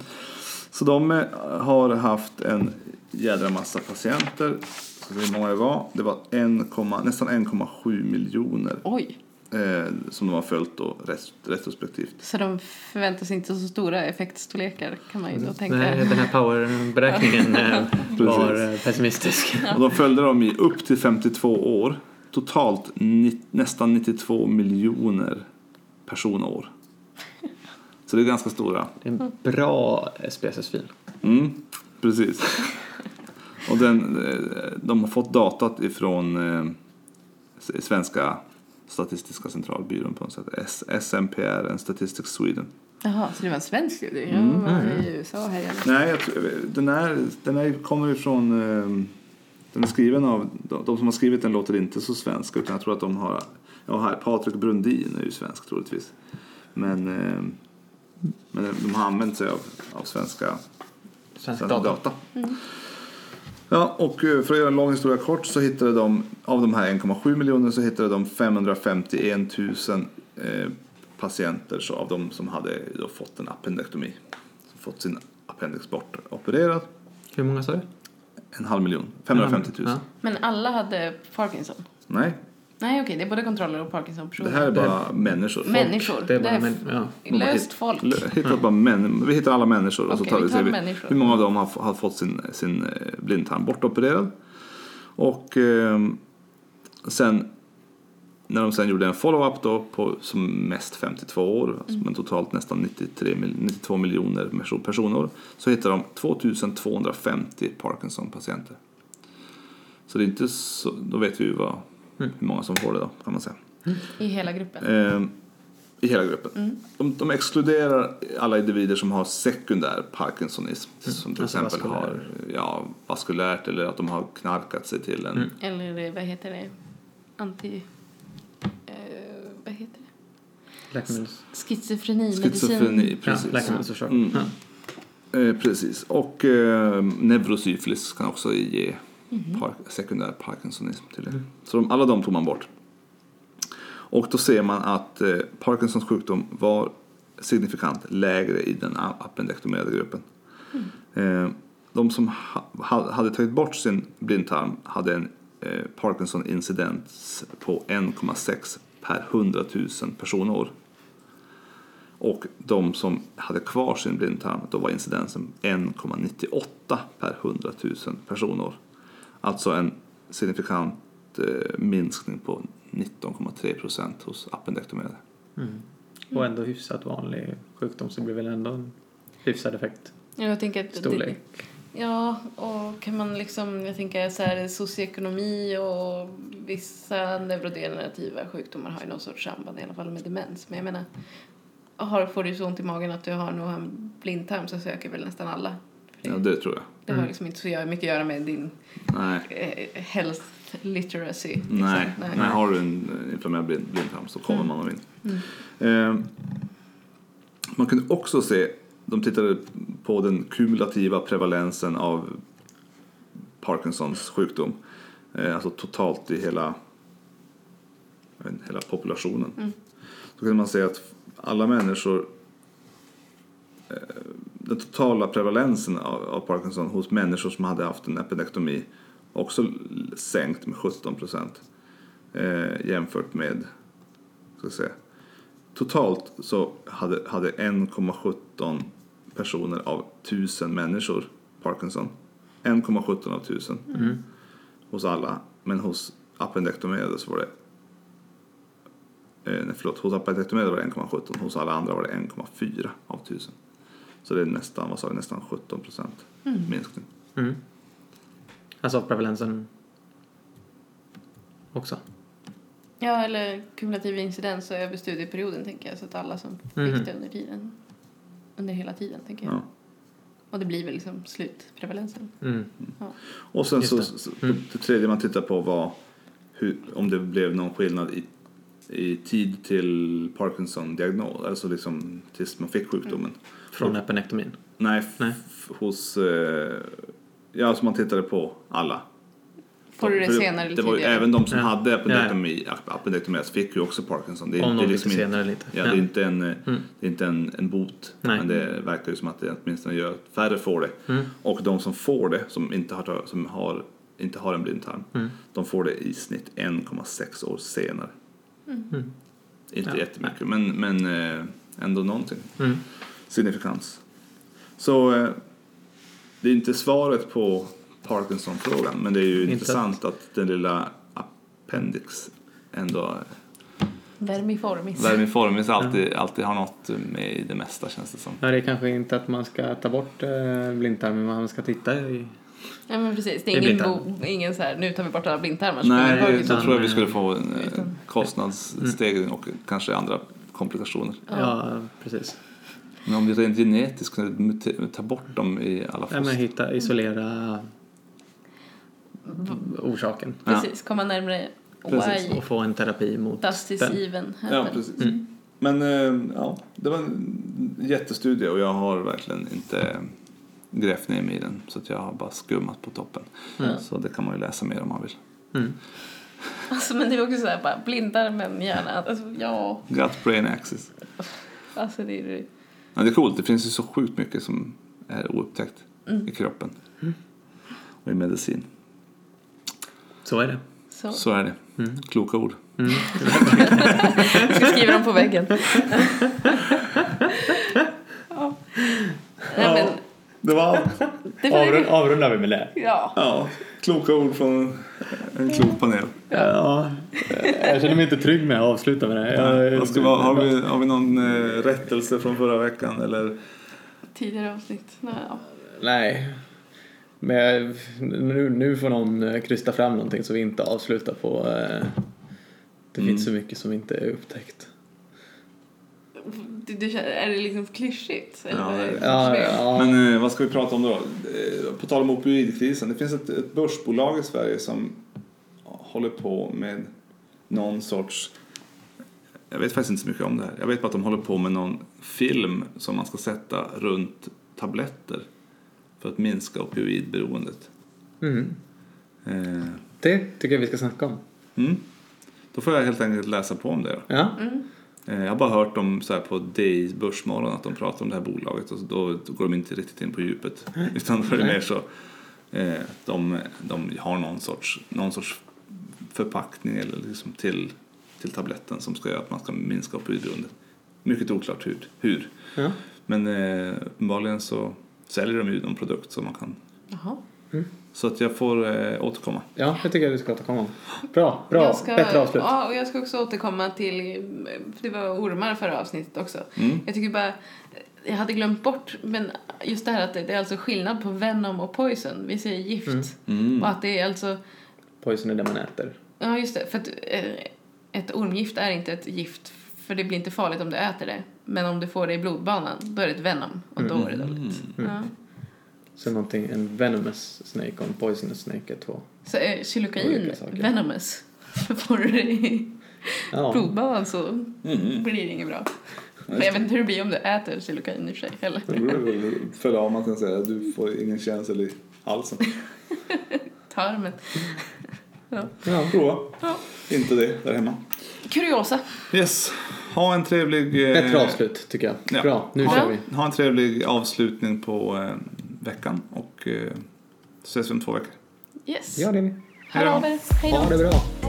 Speaker 2: Så de eh, har haft en jädra massa patienter. Ska se hur många det var? Det var 1, nästan 1,7 miljoner
Speaker 3: Oj.
Speaker 2: eh, som de har följt då ret- retrospektivt.
Speaker 3: Så de förväntas inte så stora effektstorlekar kan man ju då tänka.
Speaker 5: Den här, den här powerberäkningen eh, var eh,
Speaker 2: Precis.
Speaker 5: pessimistisk.
Speaker 2: Och de följde dem i upp till 52 år. Totalt ni, nästan 92 miljoner personår. Så det är ganska stora.
Speaker 5: Det är en bra SPSS-fil.
Speaker 2: Mm, precis. Och den, eh, de har fått datat ifrån eh, S- Svenska Statistiska centralbyrån på något sätt. S- SMPR, en Statistics Sweden.
Speaker 3: Jaha, så det var en svensk studie? Ja, mm. var i USA här igen.
Speaker 2: Nej, jag tror, den, här, den här kommer ifrån... eh, Den är skriven av... De, de som har skrivit den låter inte så svensk utan jag tror att de har... Ja, här, Patrik Brundin är ju svensk troligtvis. Men, eh, men de har använt sig av, av svenska,
Speaker 1: Svensk
Speaker 2: svenska
Speaker 1: data.
Speaker 2: data. Ja, och eh, för att göra en lång historia kort så hittade de, av de här 1,7 miljoner så hittade de 551 000 eh, patienter så av dem som hade då fått en appendektomi. Som fått sin appendix bort opererad.
Speaker 5: Hur många sa du?
Speaker 2: En halv miljon. 550 000.
Speaker 5: Ja.
Speaker 3: Men alla hade Parkinson?
Speaker 2: Nej,
Speaker 3: Nej, okej, det är både kontroller och Parkinson-personer.
Speaker 2: det här är bara människor.
Speaker 3: Människor.
Speaker 5: Det är bara,
Speaker 3: f-
Speaker 5: men, ja.
Speaker 2: De har
Speaker 3: löst
Speaker 2: hitt-
Speaker 3: folk.
Speaker 2: lö- Hittat bara män, vi hittar alla människor och så
Speaker 3: Okej,
Speaker 2: tar
Speaker 3: vi
Speaker 2: vi,
Speaker 3: tar
Speaker 2: ser vi
Speaker 3: människor.
Speaker 2: hur många av dem har, f- har fått sin, sin eh, blindtarm bortopererad. Och ehm, sen när de sen gjorde en follow-up då på som mest 52 år,
Speaker 3: Mm.
Speaker 2: alltså, men totalt nästan 93, mil- 92 miljoner perso- personer, så hittade de 2250 Parkinson-patienter. Så det är inte så, då vet vi ju vad,
Speaker 3: Mm.
Speaker 2: hur många som får det då kan man säga.
Speaker 3: I hela gruppen.
Speaker 2: Ehm, I hela gruppen. De, de exkluderar alla individer som har sekundär Parkinsonism. Som till
Speaker 5: alltså
Speaker 2: exempel har
Speaker 5: vaskulär.
Speaker 2: ja, vaskulärt eller att de har knarkat sig till
Speaker 5: Mm.
Speaker 2: en...
Speaker 3: Eller eh, vad heter det? Anti... Eh, vad heter det?
Speaker 5: Läkemedels...
Speaker 3: Schizofreni, medicin.
Speaker 2: Schizofreni,
Speaker 5: Ja,
Speaker 2: precis.
Speaker 5: läkemedelsförsörj.
Speaker 2: Mm.
Speaker 5: Ja.
Speaker 2: Eh, precis. Och eh, neurosyfilis kan också ge par- sekundär parkinsonism till det. Så de, alla de tog man bort. Och då ser man att eh, Parkinsons sjukdom var signifikant lägre i den a- appendektomerade gruppen. Eh, de som ha, ha, hade tagit bort sin blindtarm hade en eh, Parkinson-incidens på 1,6 per 100 000 personår. Och de som hade kvar sin blindtarm, då var incidensen 1,98 per 100 000 personer. Alltså en signifikant eh, minskning på 19,3 procent hos appendektomerade.
Speaker 1: Och ändå hyfsat vanlig sjukdom så blir väl ändå en hyfsad effekt.
Speaker 3: Ja, Jag tänker att det,
Speaker 1: Storlek.
Speaker 3: ja, och kan man liksom, jag tänker så här socioekonomi och vissa neurodegenerativa sjukdomar har ju någon sorts samband i alla fall med demens. Men jag menar, har, får du så ont i magen att du har nog en blindtarm så söker väl nästan alla.
Speaker 2: Ja, det tror jag.
Speaker 3: Det har liksom inte så gö- mycket att göra med din
Speaker 2: Nej,
Speaker 3: eh, health literacy. liksom.
Speaker 2: nej, nej. har du en eh, inflammerad blind, blindtarm så kommer man nog in. Eh, man kunde också se, de tittade på den kumulativa prevalensen av Parkinsons sjukdom. Eh, alltså totalt i hela, jag vet inte, hela populationen. Då kunde man se att alla människor eh, den totala prevalensen av, av Parkinson hos människor som hade haft en appendektomi också l- sänkt med 17 procent eh, jämfört med ska jag säga, totalt så hade, hade 1,17 personer av 1000 människor Parkinson. 1,17 av 1000 hos alla. Men hos appendektomerade så var det Eh, nej, förlåt, hos appendektomerade var det 1,17. Hos alla andra var det 1,4 av 000. Så det är nästan, vad sa vi, nästan 17 procent minskning.
Speaker 5: Mm. Alltså prevalensen också.
Speaker 3: Ja, eller kumulativ incidens över studieperioden tänker jag. Så att alla som fick
Speaker 5: Mhm.
Speaker 3: det under tiden. Under hela tiden tänker jag.
Speaker 2: Ja.
Speaker 3: Och det blir väl liksom slutprevalensen.
Speaker 5: Mm.
Speaker 2: Och sen
Speaker 5: Just
Speaker 2: så,
Speaker 5: det.
Speaker 2: så-
Speaker 5: Mm.
Speaker 2: det tredje man tittar på var hur, om det blev någon skillnad i, i tid till Parkinson-diagnos, alltså liksom tills man fick sjukdomen.
Speaker 5: Från
Speaker 2: Mm.
Speaker 5: epenektomin.
Speaker 2: Nej, f-
Speaker 5: Mm. Nej.
Speaker 2: f- hos... Eh, ja, alltså man tittade på alla.
Speaker 3: Får du det
Speaker 2: För
Speaker 3: senare eller
Speaker 2: Det var ju
Speaker 3: tidigare?
Speaker 2: även de som
Speaker 5: Ja.
Speaker 2: hade appendektomi, appendektomes fick ju också Parkinson. Det, är-
Speaker 5: Om
Speaker 2: det
Speaker 5: någon
Speaker 2: är
Speaker 5: liksom
Speaker 2: liksom inte-
Speaker 5: senare eller inte.
Speaker 2: Ja, det är inte en, eh, det är inte en, en bot,
Speaker 5: Nej.
Speaker 2: men det verkar ju som att det åtminstone gör att färre får det.
Speaker 5: Mm.
Speaker 2: Och de som får det, som inte har, som har, inte har en blindtarm, de får det i snitt 1,6 år senare. Mm. Inte
Speaker 5: Ja.
Speaker 2: jättemycket, men, men eh, ändå någonting.
Speaker 5: Mm.
Speaker 2: Signifikans. Så eh, det är inte svaret på Parkinson-frågan, men det är ju
Speaker 5: Inte.
Speaker 2: intressant att den lilla appendix ändå
Speaker 3: Vermiformis.
Speaker 2: Vermiformis alltid, alltid har något med i det mesta känns det som.
Speaker 1: Ja, det är kanske inte att man ska ta bort eh, blindtarmen, men man ska titta i...
Speaker 3: Ja men precis, det
Speaker 5: Det
Speaker 3: är
Speaker 5: blir
Speaker 3: ingen, bo, ingen så här, nu tar vi bort alla blindtarmar. så får vi
Speaker 2: Nej,
Speaker 3: bara-
Speaker 2: utan,
Speaker 5: utan-
Speaker 2: då tror jag vi skulle få en eh,
Speaker 3: utan-
Speaker 2: kostnadsstegring och kanske andra komplikationer.
Speaker 5: Ja, precis.
Speaker 2: Men om vi rent genetiskt kunde mute- ta bort dem i alla
Speaker 5: Nej, men
Speaker 2: foster.
Speaker 5: hitta, isolera orsaken.
Speaker 3: Precis, komma närmare
Speaker 5: Precis.
Speaker 3: why
Speaker 5: Och få en terapi mot
Speaker 3: does this
Speaker 5: den.
Speaker 3: even happen.
Speaker 2: Ja, precis. Men eh, ja, det var en jättestudie och jag har verkligen inte grävt ner mig i den så att jag har bara skummat på toppen. Så det kan man ju läsa mer om man vill.
Speaker 3: Alltså, men det är också så här, bara blindtarmen, hjärna. Alltså, ja,
Speaker 2: Gut brain axis.
Speaker 3: alltså det är ju...
Speaker 2: Ja, det är coolt. Det finns ju så sjukt mycket som är oupptäckt i kroppen och i medicin.
Speaker 5: Så är det.
Speaker 3: Så,
Speaker 2: Så är det. Kloka ord.
Speaker 3: jag ska skriva dem på väggen. ja. Nej, men,
Speaker 2: Det var allt.
Speaker 3: det var ju...
Speaker 1: avrundar vi med det.
Speaker 3: Ja.
Speaker 2: Ja, kloka ord från en klok panel.
Speaker 1: Ja, jag känner mig inte trygg med att avsluta med det. Jag,
Speaker 2: Vad ska vi, ha? har, vi, har vi någon eh, rättelse från förra veckan? Eller?
Speaker 3: Tidigare avsnitt. Nej, ja.
Speaker 1: Nej. Men jag, nu, nu får någon eh, krysta fram någonting så vi inte avslutar på... Eh, det
Speaker 2: Mm.
Speaker 1: finns så mycket som inte är upptäckt.
Speaker 3: du, du, känner- är det liksom klyschigt? Eller
Speaker 2: Ja,
Speaker 3: vad är det?
Speaker 1: Ja, ja.
Speaker 2: Men eh, vad ska vi prata om då? Eh, På tal om opioidkrisen. Det finns ett, ett börsbolag i Sverige som håller på med någon sorts... Jag vet faktiskt inte så mycket om det här. Jag vet bara att de håller på med någon film som man ska sätta runt tabletter för att minska opioidberoendet.
Speaker 1: Mm.
Speaker 2: Eh,
Speaker 1: Det tycker jag vi ska snacka om.
Speaker 2: mm. Då får jag helt enkelt läsa på om det då.
Speaker 1: Ja.
Speaker 3: Mm.
Speaker 2: Eh, Jag har bara hört om så här på DI Börsmorgon att de pratar om det här bolaget och så- då, då går de inte riktigt in på djupet. Utan då är det mer så eh, de, de har någon sorts, någon sorts förpackning eller liksom till, till tabletten som ska göra att man ska minska opioidberoendet. Mycket oklart hur. hur.
Speaker 1: Ja.
Speaker 2: Men eh, uppenbarligen så säljer de ju någon produkt som man kan.
Speaker 3: Jaha.
Speaker 2: Så att jag får eh, återkomma.
Speaker 1: ja, det tycker jag du ska återkomma om. Bra, bra.
Speaker 3: Jag ska,
Speaker 1: Bättre avslut.
Speaker 3: Ja, och jag ska också återkomma till, för det var ormar förra avsnittet också.
Speaker 2: Mm.
Speaker 3: Jag tycker bara, jag hade glömt bort, men just det här att det, det är alltså skillnad på Venom och Poison. Vi säger gift.
Speaker 2: Mm.
Speaker 3: Och att det är alltså,
Speaker 1: Poison är det man äter.
Speaker 3: ja just det, för att eh, ett ormgift är inte ett gift, för det blir inte farligt om du äter det. Men om du får det i blodbanan, då är det ett Venom. Och då är det
Speaker 1: Mm.
Speaker 3: dåligt. Ja.
Speaker 1: Så någonting, en venomous snake och en poisonous snake är två.
Speaker 3: Så eh,
Speaker 1: Olika
Speaker 3: silokain,
Speaker 1: saker.
Speaker 3: Venomous. Får du det i
Speaker 1: Ja.
Speaker 3: blodbanan så
Speaker 2: Mm.
Speaker 3: blir det inget bra. Men jag vet inte hur det blir om du äter silokain i och för sig heller.
Speaker 1: Mm.
Speaker 2: Förlamad kan jag säga. Du får ingen känsel i halsen.
Speaker 3: Tarmen.
Speaker 1: ja.
Speaker 2: Prova.
Speaker 3: Ja.
Speaker 2: Inte det där hemma.
Speaker 3: Kuriosa.
Speaker 2: Yes. Ha en trevlig... eh,
Speaker 1: Bättre avslut tycker jag.
Speaker 2: ja.
Speaker 1: Bra, nu
Speaker 2: ha,
Speaker 1: kör vi.
Speaker 2: Ha en trevlig avslutning på eh, veckan och eh, ses vi om två veckor.
Speaker 3: Yes.
Speaker 1: Ja, det är vi.
Speaker 3: Hör av er. Hej då.
Speaker 1: Ha det bra.